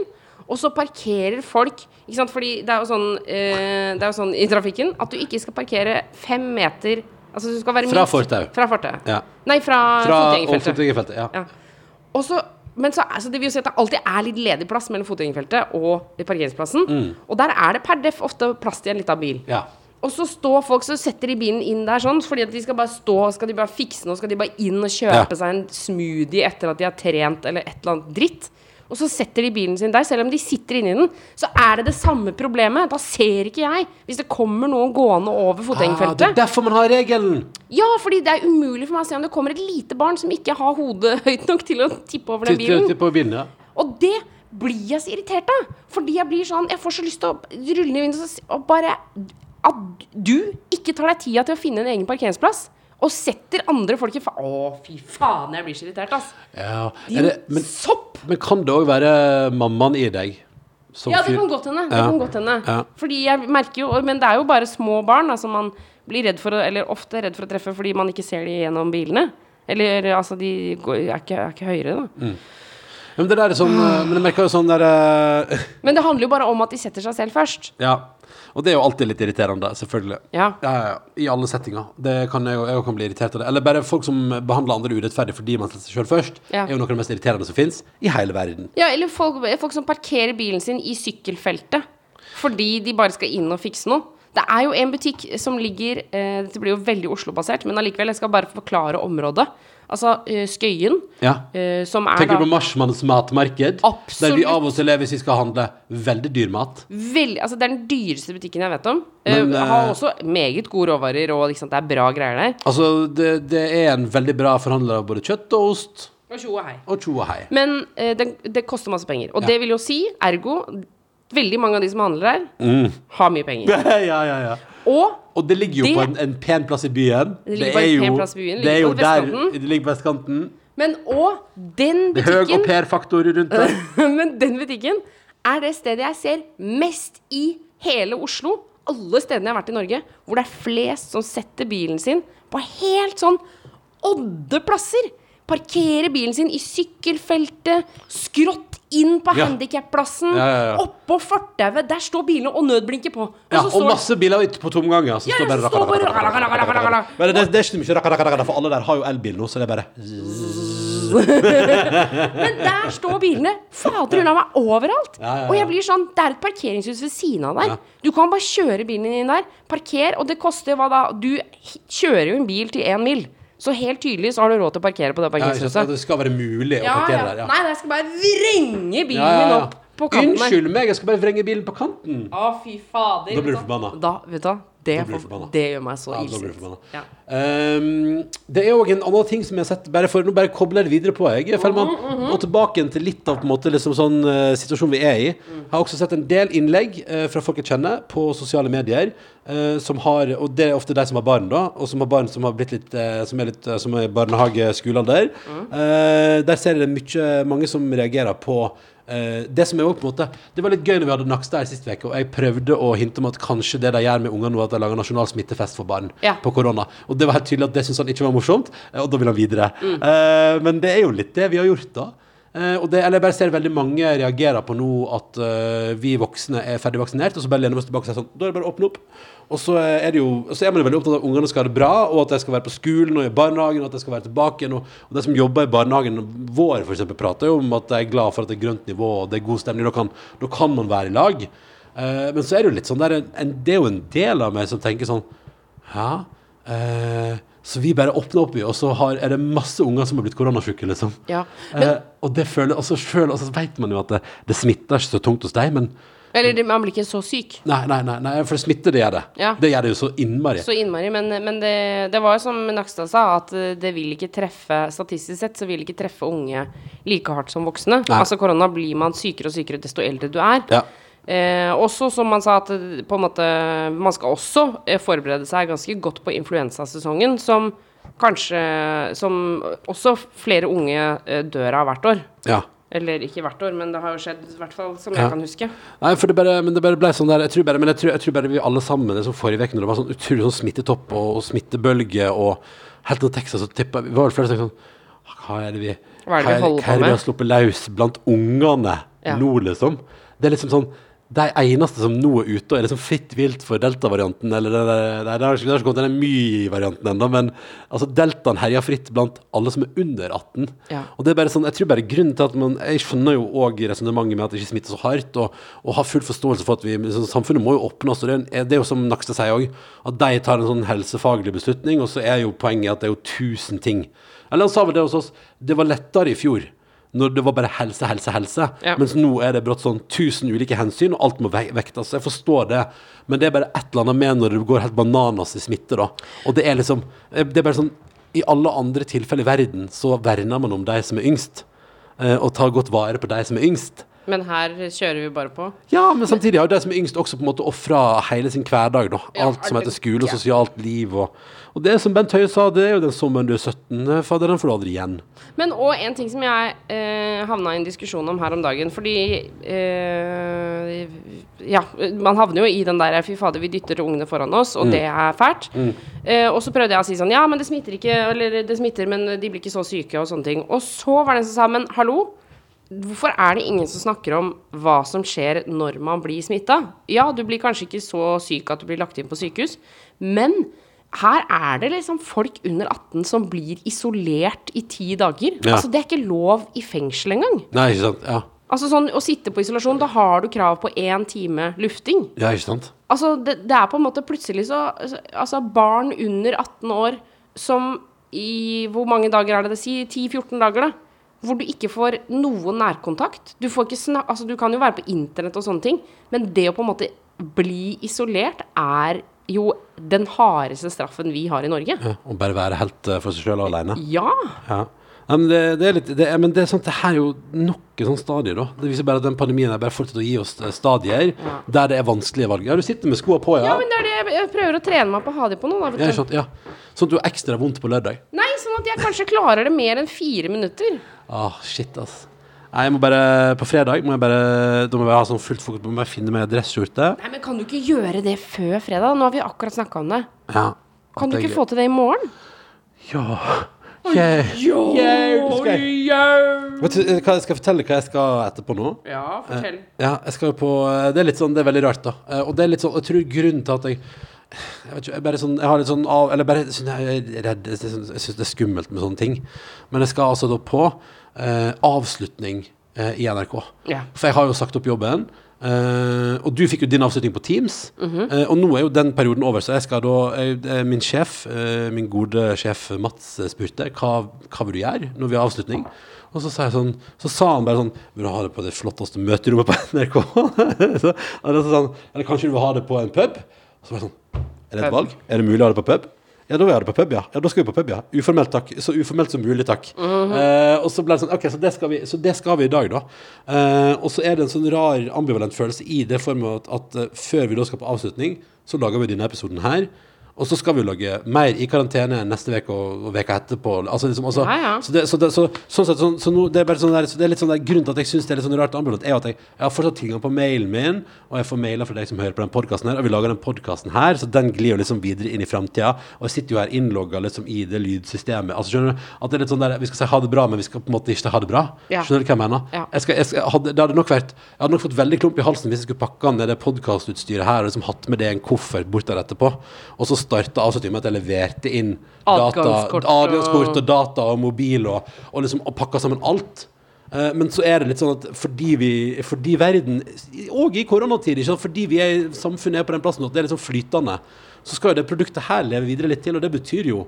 Speaker 4: og så parkerer folk ikke sant? Fordi det er, jo sånn, eh, det er jo sånn i trafikken at du ikke skal parkere fem meter Altså du skal være
Speaker 3: Fra
Speaker 4: minst-
Speaker 3: fortau.
Speaker 4: Fra fortauet.
Speaker 3: Ja.
Speaker 4: Nei, fra,
Speaker 3: Fra og
Speaker 4: fotgjengerfeltet.
Speaker 3: fotgjengerfeltet. Ja.
Speaker 4: Ja. Og så, men så, altså det vil jo si at det alltid er litt ledig plass mellom fotgjengerfeltet og i parkeringsplassen. Og der er det per def ofte plass til en liten bil.
Speaker 3: Mm. ja.
Speaker 4: Og så står folk så setter de bilen inn der sånn, fordi at de skal bare stå, skal de bare fikse noe, skal de bare inn og kjøpe
Speaker 3: Ja.
Speaker 4: seg en smoothie etter at de har trent eller et eller annet dritt. Og og så setter de bilen sin der, selv om de sitter inni den, så er det det samme problemet. Da ser ikke jeg hvis det kommer noen gående over
Speaker 3: Ah, det er
Speaker 4: fotgjengerfeltet.
Speaker 3: derfor man har regelen!
Speaker 4: ja, fordi det er umulig for meg å se om det kommer et lite barn som ikke har hodet høyt nok til å tippe over
Speaker 3: Til,
Speaker 4: den
Speaker 3: til,
Speaker 4: bilen.
Speaker 3: til på bilen, ja.
Speaker 4: Og det blir jeg så irritert av. Fordi jeg blir sånn Jeg får så lyst til å rulle ned vinduet og si- og bare At du ikke tar deg tida til å finne en egen parkeringsplass. Og setter andre folk i fa... Å, fy faen, jeg blir så irritert, ass.
Speaker 3: ja. Er
Speaker 4: Din
Speaker 3: det, men,
Speaker 4: sopp!
Speaker 3: men kan det òg være mammaen i deg? som
Speaker 4: Ja, det
Speaker 3: fyr-
Speaker 4: kan godt hende. Det
Speaker 3: Ja.
Speaker 4: kan godt hende.
Speaker 3: Ja.
Speaker 4: Fordi jeg merker jo Men det er jo bare små barn da, som man blir redd for, å- eller ofte redd for å treffe fordi man ikke ser de gjennom bilene. Eller altså, de går, er, ikke, er ikke høyere, da.
Speaker 3: Mm. Ja, Men det der er sånn eh, Men jeg merker jo sånn der eh,
Speaker 4: Men det handler jo bare om at de setter seg selv først.
Speaker 3: Ja. Og det er jo alltid litt irriterende, selvfølgelig.
Speaker 4: Ja.
Speaker 3: Ja, ja, I alle settinger. Det kan jeg, jeg kan bli irritert av det. Eller bare folk som behandler andre urettferdig fordi man setter seg sjøl først,
Speaker 4: Ja.
Speaker 3: er jo noe av det mest irriterende som fins i hele verden.
Speaker 4: Ja, eller folk, folk som parkerer bilen sin i sykkelfeltet fordi de bare skal inn og fikse noe. Det er jo en butikk som ligger eh, Dette blir jo veldig Oslo-basert, men allikevel, jeg skal bare forklare området. Altså eh, Skøyen,
Speaker 3: Ja.
Speaker 4: eh, som er
Speaker 3: Tenker
Speaker 4: da
Speaker 3: du på Marshmans matmarked?
Speaker 4: Absolutt.
Speaker 3: Der vi av og til er hvis vi skal handle veldig dyr mat.
Speaker 4: Veldig, altså Det er den dyreste butikken jeg vet om.
Speaker 3: Men,
Speaker 4: eh, har
Speaker 3: eh,
Speaker 4: også meget gode råvarer, og liksom, det er bra greier der.
Speaker 3: Altså, det, det er en veldig bra forhandler av både kjøtt og ost
Speaker 4: Og tjo og hei.
Speaker 3: og tjo og hei.
Speaker 4: Men eh, det, det koster masse penger. Og
Speaker 3: Ja.
Speaker 4: det vil jo si, ergo, veldig mange av de som handler her, har mye penger.
Speaker 3: Mm. ja, ja, ja.
Speaker 4: Og
Speaker 3: Og det ligger jo
Speaker 4: Det-
Speaker 3: på en, en pen plass i byen.
Speaker 4: Det ligger på en pen plass i byen, det
Speaker 3: det er
Speaker 4: ligger
Speaker 3: jo
Speaker 4: på
Speaker 3: der
Speaker 4: vestkanten.
Speaker 3: Det ligger på vestkanten.
Speaker 4: Men og den
Speaker 3: Det er høy
Speaker 4: butikken
Speaker 3: og per-faktor rundt det.
Speaker 4: Men den butikken er det stedet jeg ser mest i hele Oslo. Alle stedene jeg har vært i Norge, hvor det er flest som setter bilen sin på helt sånn oddeplasser. Parkerer bilen sin i sykkelfeltet, skrått inn på
Speaker 3: Ja.
Speaker 4: handikapplassen,
Speaker 3: Ja, ja, ja.
Speaker 4: oppå fortauet. Der står bilene og nødblinker på. Og
Speaker 3: Ja,
Speaker 4: så
Speaker 3: og
Speaker 4: står
Speaker 3: masse biler ute på tomganger. Så
Speaker 4: Ja,
Speaker 3: står bare
Speaker 4: så står bare
Speaker 3: rakka, rakka, rakka, rakka, rakka, rakka. Men det, det er ikke mye rakka, rakka, rakka, for alle der har jo elbil nå, så det er bare
Speaker 4: Men der står bilene fader unna meg overalt.
Speaker 3: Ja, ja, ja.
Speaker 4: Og jeg blir sånn Det er et parkeringshus ved siden av der.
Speaker 3: Ja.
Speaker 4: Du kan bare kjøre bilen din inn der. Parker, og det koster hva da? Du h- kjører jo en bil til én mil. Så helt tydelig så har du råd til å parkere på det
Speaker 3: ja, ikke sant,
Speaker 4: parkeringshuset.
Speaker 3: Det skal være mulig å
Speaker 4: Ja,
Speaker 3: parkere
Speaker 4: ja.
Speaker 3: der. Ja.
Speaker 4: Nei, jeg skal bare vrenge bilen
Speaker 3: Ja, ja,
Speaker 4: min
Speaker 3: ja.
Speaker 4: opp på kanten der.
Speaker 3: Unnskyld meg, jeg skal bare vrenge bilen på kanten.
Speaker 4: Å, fy fader.
Speaker 3: Da blir du
Speaker 4: vet
Speaker 3: forbanna.
Speaker 4: Da, vet du hva. Det,
Speaker 3: Da blir du
Speaker 4: får-
Speaker 3: forbanna.
Speaker 4: det gjør meg så
Speaker 3: Ja, da blir du
Speaker 4: illsint.
Speaker 3: forbanna.
Speaker 4: Ja.
Speaker 3: Ehm, det er òg en annen ting som jeg har sett bare for, Nå bare kobler jeg det videre på. Jeg, Fellmann, Og tilbake igjen til litt av på en måte, liksom, sånn, eh, situasjonen vi er i. Jeg har også sett en del innlegg eh, fra folk jeg kjenner på sosiale medier. eh, som har, og det er ofte de som har barn, da. Og som har barn som har blitt litt eh, Som er litt eh, Som er i barnehageskolealder. Eh, der ser jeg det mye, mange som reagerer på Eh, det som er jo på en måte Det var litt gøy når vi hadde Nakstad her sist uke, og jeg prøvde å hinte om at kanskje det de gjør med unger nå, er at de lager nasjonal smittefest for barn
Speaker 4: Ja.
Speaker 3: på korona. Og det var helt tydelig at det syntes han ikke var morsomt, eh, og da ville han videre. Eh, men det er jo litt det vi har gjort, da. Eh, og det, eller jeg bare ser veldig mange reagerer på nå at eh, vi voksne er ferdig vaksinert, og så bare lener vi oss tilbake og sier sånn Da er det bare å åpne opp. Og så er, det jo, så er man jo veldig opptatt av at ungene skal ha det bra, og at de skal være på skolen og i barnehagen, og at de skal være tilbake igjen. Og, og de som jobber i barnehagen vår, for eksempel, prater jo om at de er glad for at det er grønt nivå og det er god stemning. Da kan, da kan man være i lag. Eh, men så er det jo litt sånn der, en, det er jo en del av meg som tenker sånn Hæ? Eh, så vi bare åpner opp, i, og så har, er det masse unger som har blitt koronasjuke, liksom.
Speaker 4: Ja, men-
Speaker 3: Eh, og det føler, altså selv, altså vet man jo at det, det smitter ikke så tungt hos deg, men
Speaker 4: Eller det- man blir ikke så syk.
Speaker 3: nei, nei, nei, nei for det smitter, det gjør det.
Speaker 4: Ja.
Speaker 3: Det gjør det jo så innmari.
Speaker 4: Så innmari, men, men det, det var jo som Nakstad sa, at eh, det vil ikke treffe Statistisk sett så vil ikke treffe unge like hardt som voksne.
Speaker 3: Nei.
Speaker 4: Altså korona blir man sykere og sykere desto eldre du er.
Speaker 3: Ja.
Speaker 4: Eh, også som man sa, at eh, på en måte, man skal også eh, forberede seg ganske godt på influensasesongen, som kanskje Som også flere unge eh, dør av hvert år.
Speaker 3: ja.
Speaker 4: Eller ikke hvert år, men det har jo skjedd, i hvert fall som
Speaker 3: Ja.
Speaker 4: jeg kan huske.
Speaker 3: Nei, for det bare, men det bare ble sånn der Jeg tror bare, men jeg tror, jeg tror bare vi alle sammen liksom, Forrige uke når det var sånn utrolig sånn smittetopp og, og smittebølge og Helt til Texas så tippa Vi var vel flere som tenkte sånn Hva er det vi
Speaker 4: Hva er det vi holder på
Speaker 3: hva er det
Speaker 4: med?»
Speaker 3: vi har sluppet løs blant ungene
Speaker 4: Ja.
Speaker 3: nå, liksom? Det er liksom sånn de eneste som nå er ute og er liksom fritt vilt for delta-varianten Eller det, det, det, det har ikke det har ikke kommet den my-varianten ennå, men altså, deltaen herjer fritt blant alle som er under 18.
Speaker 4: Ja.
Speaker 3: Og det er bare sånn, jeg tror bare grunnen til at man Jeg skjønner jo òg resonnementet med at det ikke smitter så hardt, og, og har full forståelse for at vi liksom, Samfunnet må jo åpnes, og det er, en- det er jo som Nakstad sier òg, at de tar en sånn helsefaglig beslutning, og så er jo poenget at det er jo tusen ting. Eller han sa vel det hos oss, det var lettere i fjor. når det var bare helse, helse, helse.
Speaker 4: Ja.
Speaker 3: Mens nå er det brått sånn tusen ulike hensyn, og alt må vei- vektes. Jeg forstår det, men det er bare et eller annet med når det går helt bananas i smitte, da. Og det er liksom Det er bare sånn I alle andre tilfeller i verden så verner man om de som er yngst, eh, og tar godt vare på de som er yngst.
Speaker 4: Men her kjører vi bare på.
Speaker 3: Ja, men samtidig har jo de som er yngst også på en måte ofra hele sin hverdag, da.
Speaker 4: Ja,
Speaker 3: Alt som
Speaker 4: det-
Speaker 3: heter skole og
Speaker 4: ja.
Speaker 3: sosialt liv og Og det er som Bent Høie sa, det er jo den sommeren du er 17, fader, den får du aldri igjen.
Speaker 4: Men og en ting som jeg eh, havna i en diskusjon om her om dagen, fordi eh, Ja, man havner jo i den der fy fader, vi dytter ungene foran oss, og det er fælt. Eh, og så prøvde jeg å si sånn ja, men det smitter ikke, eller det smitter, men de blir ikke så syke og sånne ting. Og så var det en som sa men hallo. Hvorfor er det ingen som snakker om hva som skjer når man blir smitta? Ja, du blir kanskje ikke så syk at du blir lagt inn på sykehus, men her er det liksom folk under 18 som blir isolert i ti dager.
Speaker 3: Ja.
Speaker 4: Altså, det er ikke lov i fengsel engang.
Speaker 3: Nei, ikke sant? Ja.
Speaker 4: Altså sånn, Å sitte på isolasjon, da har du krav på én time lufting.
Speaker 3: Ja, ikke sant?
Speaker 4: Altså, det, det er på en måte plutselig så Altså, barn under 18 år som i Hvor mange dager er det det sier? 10-14 dager, da? Hvor du ikke får noen nærkontakt. Du får ikke snak... Altså, du kan jo være på internett og sånne ting, men det å på en måte bli isolert er jo den hardeste straffen vi har i Norge.
Speaker 3: Ja, og bare være helt eh, for seg sjøl aleine.
Speaker 4: Ja!
Speaker 3: Ja. Ja, men det, det er litt det er, Men det er sant, det her er jo nok et sånt stadie, da. Det viser bare at den pandemien her bare fortsetter å gi oss eh, stadier der det er vanskelige valg. Ja, du sitter med skoa på, ja.
Speaker 4: Ja, men det er det jeg- jeg prøver å trene meg på å ha de på nå, da.
Speaker 3: ja,
Speaker 4: Vet
Speaker 3: ikke
Speaker 4: du.
Speaker 3: sant? ja. Sånn at du har ekstra vondt på lørdag.
Speaker 4: Nei, sånn at jeg kanskje klarer det mer enn fire minutter.
Speaker 3: Ah, shit, ass. Nei, jeg må bare, På fredag må jeg bare Da må jeg bare ha sånn fullt fokus på om jeg finner meg dresskjorte.
Speaker 4: Nei, men kan du ikke gjøre det før fredag? Nå har vi akkurat snakka om det.
Speaker 3: Ja.
Speaker 4: Kan du ikke få til det i morgen?
Speaker 3: Ja. Yeah. Yeah, det skal jeg. Vet du eh, hva jeg skal fortelle hva jeg skal etterpå nå?
Speaker 4: Ja, fortell.
Speaker 3: Ja, jeg skal jo på Det er litt sånn, det er veldig rart, da. Eh, Og det er litt sånn, jeg tror grunnen til at jeg jeg vet ikke, jeg bare sånn, jeg har litt sånn av, eller bare synes jeg er redd, jeg synes jeg synes det er skummelt med sånne ting. Men jeg skal altså da på eh, avslutning eh, i NRK.
Speaker 4: Ja.
Speaker 3: For jeg har jo sagt opp jobben, eh, og du fikk jo din avslutning på Teams, eh, og nå er jo den perioden over, så jeg skal da, jeg, eh, min sjef, eh, min gode sjef Mats eh, spurte, hva, hva vil du gjøre når vi har avslutning? Og så sa jeg sånn, så sa han bare sånn, vil du ha det på det flotteste møterommet på NRK? så, eller så sa han, eller kanskje du vil ha det på en pub? Og så var jeg sånn, er det et
Speaker 4: Pub.
Speaker 3: valg? Er det mulig å ha det på pub? Ja, da vil jeg ha det på pub, ja. ja. Da skal vi på pub, ja. Uformelt, takk. Så uformelt som mulig, takk.
Speaker 4: Mhm.
Speaker 3: Eh, og så ble det sånn, ok, så det skal vi, så det skal vi i dag, da. Eh, og så er det en sånn rar ambivalent følelse i det form at, at eh, før vi da skal på avslutning, så lager vi denne episoden her. Og så skal vi jo lage mer i karantene neste uke og, og veka etterpå. Altså, liksom, altså,
Speaker 4: Ja, ja.
Speaker 3: Så det, så det, så, sånn sett, sånn, så nå, det er bare sånn der, så det er litt sånn der, grunnen til at jeg synes det er litt sånn rart ambulant, er jo at jeg, jeg har fortsatt tilgang på mailen min, og jeg får mailer fra deg som hører på den podcasten her, og vi lager den podcasten her, så den glir jo liksom videre inn i fremtiden, og jeg sitter jo her innlogget liksom i det lydsystemet, altså skjønner du, at det er litt sånn der, vi skal si ha det bra, men vi skal på en måte ikke ha det bra,
Speaker 4: Ja.
Speaker 3: skjønner du hva jeg mener?
Speaker 4: Ja.
Speaker 3: Jeg skal, jeg skal, jeg hadde, det hadde nok vært, jeg hadde nok fått veldig klump i halsen hvis jeg skulle pakka ned det podcastutstyret her, og liksom hatt med det i en koffert bort der etterpå, og så startet avslutningen med at jeg leverte inn data,
Speaker 4: Adgangskort og-
Speaker 3: adgangskort og data og mobil og, og liksom og pakka sammen alt. Eh, Men så er det litt sånn at fordi vi Fordi verden, og i koronatid, ikke sant, fordi vi er, samfunnet er på den plassen at det er liksom flytende, så skal jo det produktet her leve videre litt til, og det betyr jo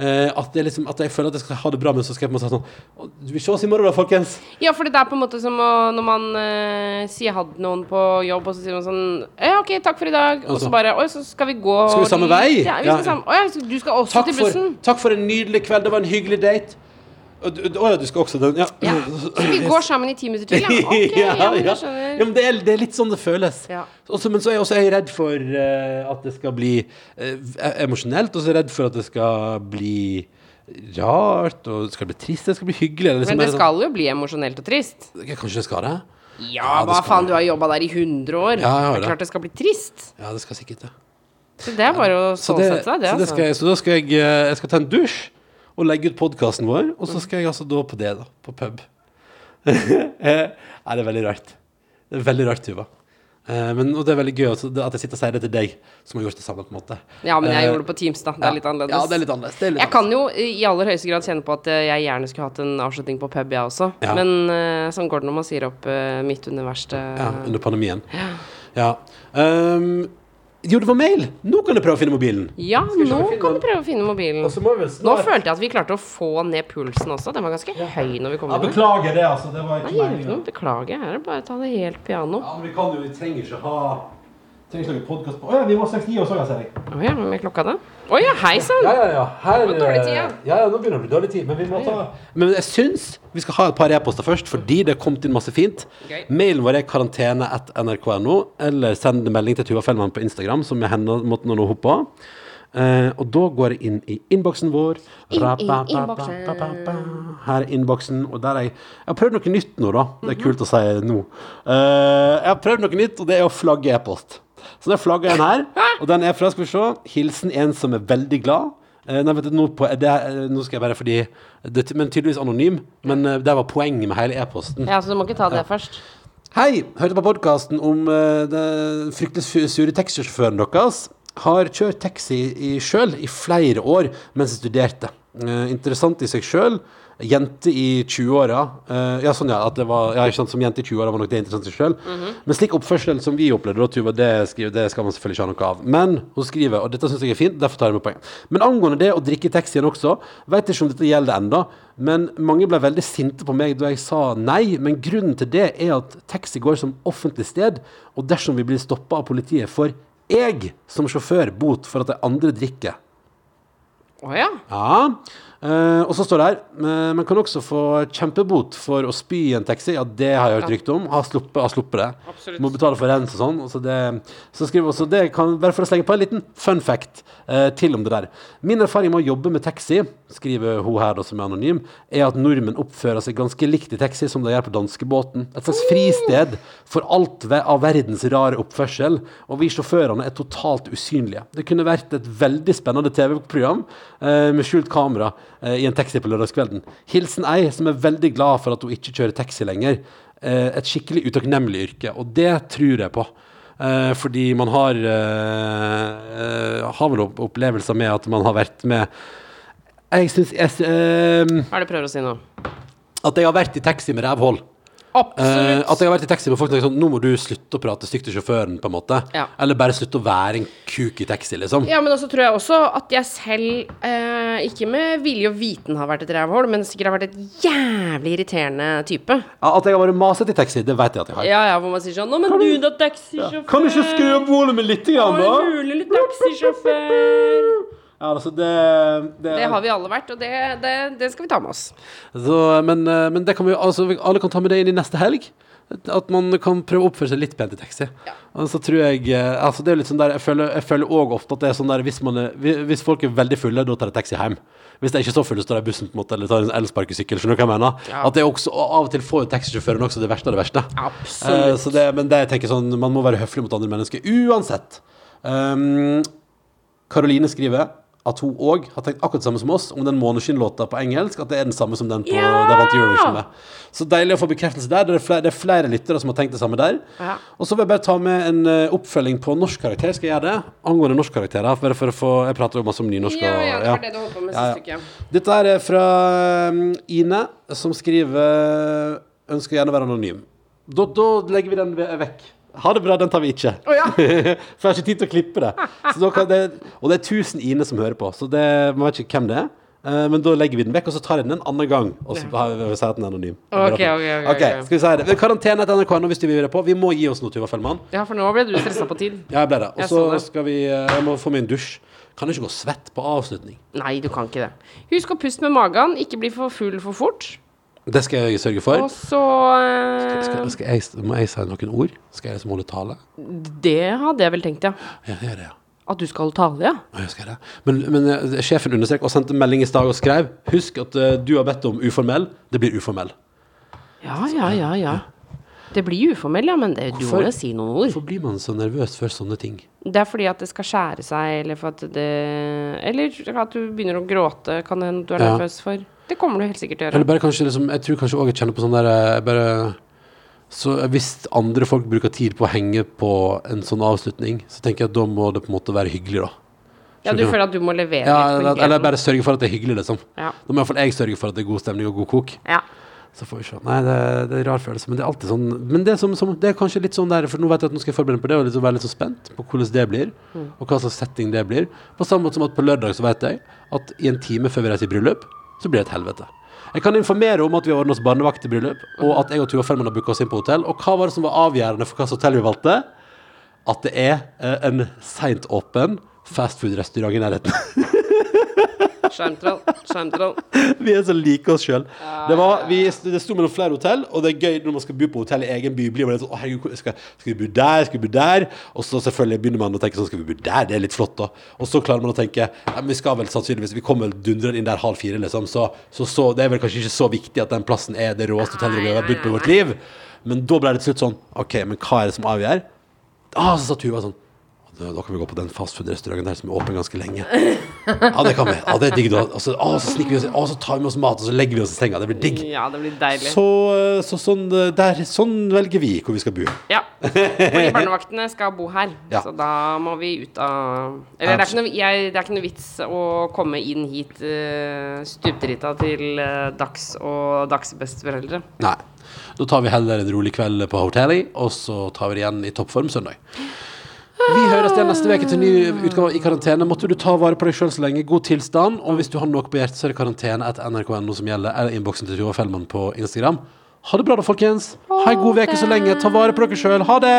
Speaker 3: eh, at, det er liksom, at jeg føler at jeg skal ha det bra, men så skal jeg på en måte si sånn «Å, Vi ses i morgen, da, folkens!
Speaker 4: Ja, for det er på en måte som å, når man eh, sier ha det noen på jobb, og så sier man sånn Ja, OK, takk for i dag. Og
Speaker 3: Altså.
Speaker 4: så bare Oi, så skal vi gå
Speaker 3: Skal vi samme vei?
Speaker 4: Ja, vi skal
Speaker 3: Ja.
Speaker 4: samme Å ja, så du skal også
Speaker 3: Takk
Speaker 4: til
Speaker 3: for,
Speaker 4: bussen?
Speaker 3: takk for en nydelig kveld, det var en hyggelig date. Å ja, du skal også den? Ja.
Speaker 4: Ja. Så vi går sammen i ti minutter til, ja. OK, ja, men jeg skjønner.
Speaker 3: Ja, men det, er, det er litt sånn det føles.
Speaker 4: Ja.
Speaker 3: Også, men så er jeg også er jeg redd for eh, at det skal bli eh, emosjonelt, og så er jeg redd for at det skal bli rart, og det skal bli trist, det skal bli hyggelig. Eller liksom,
Speaker 4: Men det
Speaker 3: bare
Speaker 4: skal jo bli emosjonelt og trist.
Speaker 3: Sånn, kanskje det skal det?
Speaker 4: Ja,
Speaker 3: det
Speaker 4: hva
Speaker 3: skal
Speaker 4: faen,
Speaker 3: det.
Speaker 4: du har jobba der i 100 år.
Speaker 3: Ja, jeg har
Speaker 4: det er
Speaker 3: det.
Speaker 4: klart det skal bli trist.
Speaker 3: Ja, det skal sikkert det.
Speaker 4: Så det er bare å
Speaker 3: Så, det,
Speaker 4: stålsette seg, det,
Speaker 3: så, det skal
Speaker 4: altså.
Speaker 3: jeg, så da skal jeg, eh, jeg skal ta en dusj og legge ut podkasten vår, og så skal jeg altså da på det, da. På pub. Eh, Nei, det er veldig rart. Det er veldig rart, Tuva. Eh, Men, og det er veldig gøy også, det at jeg sitter og sier det til deg, som har gjort det samme. på en måte
Speaker 4: Ja, men jeg
Speaker 3: Eh,
Speaker 4: gjorde det på Teams, da. Det er litt annerledes.
Speaker 3: Ja, det er litt annerledes. Det er litt
Speaker 4: Jeg kan jo eh, i aller høyeste grad kjenne på at eh, jeg gjerne skulle hatt en avslutning på pub, jeg også.
Speaker 3: Ja.
Speaker 4: Men eh, sånn går det når man sier opp eh, midt under verste
Speaker 3: annerledes. ja, under pandemien. Ja. Um, Jo, det var mail! Nå kan jeg prøve å finne mobilen.
Speaker 4: Ja,
Speaker 3: vi se om
Speaker 4: nå
Speaker 3: vi finner
Speaker 4: kan
Speaker 3: den?
Speaker 4: du prøve å finne mobilen.
Speaker 3: Og så må vi vel
Speaker 4: Nå
Speaker 3: snart-
Speaker 4: følte jeg at vi klarte å få ned pulsen også. Den var ganske høy når vi kom
Speaker 3: Ja,
Speaker 4: inn. her.
Speaker 3: beklager det, altså. Det var
Speaker 4: Nei,
Speaker 3: ikke
Speaker 4: gjør ikke
Speaker 3: meningen.
Speaker 4: noe. Beklager. Her er det bare å ta det helt piano.
Speaker 3: Ja, men vi kan jo, vi trenger ikke ha Trenger ikke lage podkast på Å ja, vi må straks gi oss òg, ser jeg.
Speaker 4: Å ja, med klokka da? Å ja, hei sann!
Speaker 3: Ja, ja, ja. Her, eh,
Speaker 4: Det var dårlig tid, ja.
Speaker 3: ja, ja, nå begynner det å bli dårlig tid, men vi må ta Men jeg syns vi skal ha et par e-poster først, fordi det er kommet inn masse fint.
Speaker 4: Gøy.
Speaker 3: Mailen vår er karantene.nrk.no, eller send en melding til Tuva Fellmann på Instagram, som er henne måten å nå henne på. Eh, og da går jeg inn i innboksen vår. Ra-ba-ba-ba-ba-ba-ba. Her er innboksen, og der er jeg Jeg har prøvd noe nytt nå, da. Det er kult å si nå. Eh, jeg har prøvd noe nytt, og det er å flagge e-post. Så der flagger jeg en her, og den er fra Skal vi se. Hilsen en som er veldig glad. Eh, Nei, vet du, nå, på, det, er- eh, nå skal jeg bare fordi det, Men tydeligvis anonym. Men eh, det var poenget med hele e-posten.
Speaker 4: Ja, så du må ikke ta det først.
Speaker 3: Hei! Hørte på podkasten om eh, den fryktelig su- sure taxisjåføren deres. Har kjørt taxi i sjøl i flere år mens jeg studerte. Eh, interessant i seg sjøl. Jente i 20-åra. eh, ja, sånn, ja. At det var, ja, ikke sant, som jente i 20-åra var nok det interessant i seg sjøl. Men slik oppførsel som vi opplevde, da, Tuva, det, skriver, det skal man selvfølgelig ikke ha noe av. Men hun skriver, og dette syns jeg er fint, derfor tar jeg med poeng. Men angående det å drikke i taxien også, vet ikke om dette gjelder enda, men mange ble veldig sinte på meg da jeg sa nei, men grunnen til det er at taxi går som offentlig sted, og dersom vi blir stoppa av politiet, får jeg som sjåfør bot for at de andre drikker.
Speaker 4: Å ja.
Speaker 3: Ja. Eh, og så står det her eh, Man kan også få kjempebot for å spy i en taxi. Ja, det har jeg hørt rykte om. Har sluppet, har sluppet det.
Speaker 4: Absolutt.
Speaker 3: Må betale for rens og sånn. Og så, det, så skriver jeg også det kan være for å slenge på en liten fun fact eh, til om det der. Min erfaring med å jobbe med taxi, skriver hun her da som er anonym, er at nordmenn oppfører seg ganske likt i taxi som de gjør på danskebåten. Et slags fristed for alt ve- av verdens rare oppførsel. Og vi sjåførene er totalt usynlige. Det kunne vært et veldig spennende TV-program eh, med skjult kamera eh, i en taxi på lørdagskvelden. Hilsen ei som er veldig glad for at hun ikke kjører taxi lenger. Eh, et skikkelig utakknemlig yrke, og det tror jeg på. Eh, fordi man har eh, eh, Har vel opp- opplevelser med at man har vært med Jeg syns jeg, s- eh,
Speaker 4: Hva er det du prøver å si nå?
Speaker 3: At jeg har vært i taxi med rævhold. Eh, at
Speaker 4: Absolutt.
Speaker 3: jeg har vært i taxi med folk som er sånn Nå må du slutte å prate stygt til sjåføren, på en måte.
Speaker 4: Ja.
Speaker 3: Eller bare slutte å være en kuk i taxi, liksom.
Speaker 4: Ja, men også tror jeg også at jeg selv, eh, ikke med vilje og viten, har vært et rævhål, men sikkert har vært et jævlig irriterende type.
Speaker 3: Ja, At jeg har vært masete i taxi, det vet jeg at jeg har.
Speaker 4: Ja, ja, hvor man sier sånn Nå, men du, da, taxisjåfør.
Speaker 3: Kan du ikke skru opp volumet litt,
Speaker 4: Å,
Speaker 3: grann,
Speaker 4: det er
Speaker 3: da?
Speaker 4: mulig, litt taxisjåfør.
Speaker 3: Ja, altså, det, det,
Speaker 4: Det har vi alle vært, og det, det, det skal vi ta med oss.
Speaker 3: Så, men, eh, men det kan vi, altså, vi- alle kan ta med det inn i neste helg. At man kan prøve å oppføre seg litt pent i taxi. Og så tror jeg eh, altså, det er jo litt sånn der, Jeg føler jeg føler òg ofte at det er sånn der hvis, man er, hvi- hvis folk er veldig fulle, da tar de taxi hjem. Hvis de er ikke så fulle, står de i bussen på en måte, eller tar en elsparkesykkel. Skjønner du hva jeg mener? At det er også, og Av og til får jo taxisjåføren også det verste av det verste.
Speaker 4: Absolutt.
Speaker 3: Eh, så det, men det jeg tenker sånn, man må være høflig mot andre mennesker uansett. Um, Karoline skriver at hun òg har tenkt akkurat det samme som oss om den Måneskinn-låta på engelsk. At det er den samme som den på
Speaker 4: Ja!
Speaker 3: der vant Eurovision med. Så deilig å få bekreftelse der. Det er flere, det er flere lyttere som har tenkt det samme der.
Speaker 4: Ja.
Speaker 3: Og så vil jeg bare ta med en eh, oppfølging på norsk karakter. Skal jeg gjøre det? Angående norskkarakterer. Bare for å få Jeg prater jo masse om nynorsk.
Speaker 4: Ja, ja,
Speaker 3: og-
Speaker 4: det var det du holdt på med sist uke.
Speaker 3: Dette her er fra um, Ine, som skriver Ønsker gjerne å være anonym. Da, da legger vi den ve- vekk. Ha det bra, den tar vi ikke.
Speaker 4: Å, ja.
Speaker 3: For jeg har ikke tid til å klippe det. Så da kan det. Og det er 1000 Ine som hører på, så det, man vet ikke hvem det er. Eh, Men da legger vi den vekk, og så tar jeg den en annen gang. Og så har vi- vi sier at den er anonym.
Speaker 4: Ok, ok, ok, ok.
Speaker 3: skal vi si det. Karantene etter NRK nå hvis du vil videre på. Vi må gi oss nå, Tuva Fellmann.
Speaker 4: Ja, for nå ble du stressa på tid.
Speaker 3: Ja, jeg ble det. Og
Speaker 4: Jeg så
Speaker 3: så
Speaker 4: sånn det.
Speaker 3: skal vi eh, Jeg må få meg en dusj. Kan ikke gå svett på avslutning.
Speaker 4: Nei, du kan ikke det. Husk å puste med magen, ikke bli for full for fort.
Speaker 3: Det skal jeg sørge for.
Speaker 4: Og så eh,
Speaker 3: Skal, skal jeg, må jeg si noen ord? Skal jeg liksom holde tale?
Speaker 4: eh, Det hadde jeg vel tenkt, ja.
Speaker 3: Ja, jeg gjør det, ja.
Speaker 4: At du skal tale, ja.
Speaker 3: Ja, Jeg skal det. Men, men eh, sjefen understreket og sendte melding i stad og skrev Husk at eh, du har bedt om uformell. Det blir uformell.
Speaker 4: Ja, ja, ja, ja. Det blir uformell, ja, men det, du må
Speaker 3: Hvorfor?
Speaker 4: jo si noen ord.
Speaker 3: Hvorfor blir man så nervøs før sånne ting?
Speaker 4: Det er fordi at det skal skjære seg, eller for at det Eller at du begynner å gråte, kan det hende du er
Speaker 3: Ja.
Speaker 4: nervøs for. Det kommer du helt sikkert til å
Speaker 3: Eller
Speaker 4: gjøre.
Speaker 3: bare kanskje liksom, Jeg tror kanskje òg jeg kjenner på sånn der eh, jeg bare, så Hvis andre folk bruker tid på å henge på en sånn avslutning, så tenker jeg at da må det på en måte være hyggelig, da.
Speaker 4: Ja, du føler at du må levere
Speaker 3: Ja,
Speaker 4: litt på
Speaker 3: eller, eller
Speaker 4: hygienen.
Speaker 3: bare sørge for at det er hyggelig, liksom.
Speaker 4: Ja.
Speaker 3: Da må iallfall jeg sørge for at det er god stemning og god kok.
Speaker 4: Ja.
Speaker 3: Så får vi se. Nei, det, det er en rar følelse, men det er alltid sånn Men det er, som, som, det er kanskje litt sånn der, for nå vet jeg at nå skal jeg forberede meg på det og liksom være litt så spent på hvordan det blir, og hva slags setting det blir. På samme måte som at på lørdag så vet jeg at i en time før vi reiser i bryllup, så blir det et helvete. Jeg kan informere om at vi har ordnet oss barnevakt i bryllup, og at jeg og Tuva Fellmann har booka oss inn på hotell. Og hva var det som var avgjørende for hva slags hotell vi valgte? At det er eh, en seint åpen fastfood-restaurant i nærheten.
Speaker 4: Skjermtroll. Skjermtroll.
Speaker 3: Vi er så like oss sjøl. Det, var- vi- det sto mellom flere hotell, og det er gøy når man skal bo på hotell i egen by. Blir man litt sånn, å herregud, hvor- skal, skal vi bo der, skal vi bo der? Og så selvfølgelig begynner man å tenke sånn, skal vi bo der, det er litt flott, da. Og så klarer man å tenke, ja, men vi skal vel sannsynligvis, vi kommer vel dundrende inn der halv fire, liksom. Så, så, så det er vel kanskje ikke så viktig at den plassen er det råeste hotellrommet vi har bodd på i vårt liv. Men da ble det til slutt sånn, OK, men hva er det som avgjør? Ah, så sa Tuva sånn da da kan vi gå på den fastfood-restauranten der som er åpen ganske lenge. Ja, det kan vi. Ja, det er digg da. Og så, å, så snikker vi oss inn, å, så tar vi med oss mat, og så legger vi oss i senga. Det blir digg.
Speaker 4: Ja, det blir deilig.
Speaker 3: Så, eh, så sånn, eh, der, sånn velger vi hvor vi skal bo.
Speaker 4: Ja. Fordi barnevaktene skal bo her,
Speaker 3: Ja.
Speaker 4: så da må vi ut av Eller det er, ikke noe, jeg, det er ikke noe vits å komme inn hit eh, stupdrita til eh, Dags og Dags besteforeldre.
Speaker 3: Nei. Da tar vi heller en rolig kveld på hotellet, og så tar vi det igjen i toppform søndag. Vi høres igjen neste uke til ny utgave i karantene. Måtte du ta vare på deg sjøl så lenge. God tilstand. Og hvis du har noe på hjertet, så er det karantene etter nrk.no som gjelder, eller innboksen til Tuva Fellmann på Instagram. Ha det bra da, folkens. Ha ei god uke så lenge. Ta vare på dere sjøl. Ha det!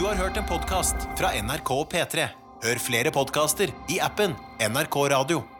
Speaker 2: Du har hørt en podcast fra NRK P3. Hør flere podcaster i appen NRK Radio.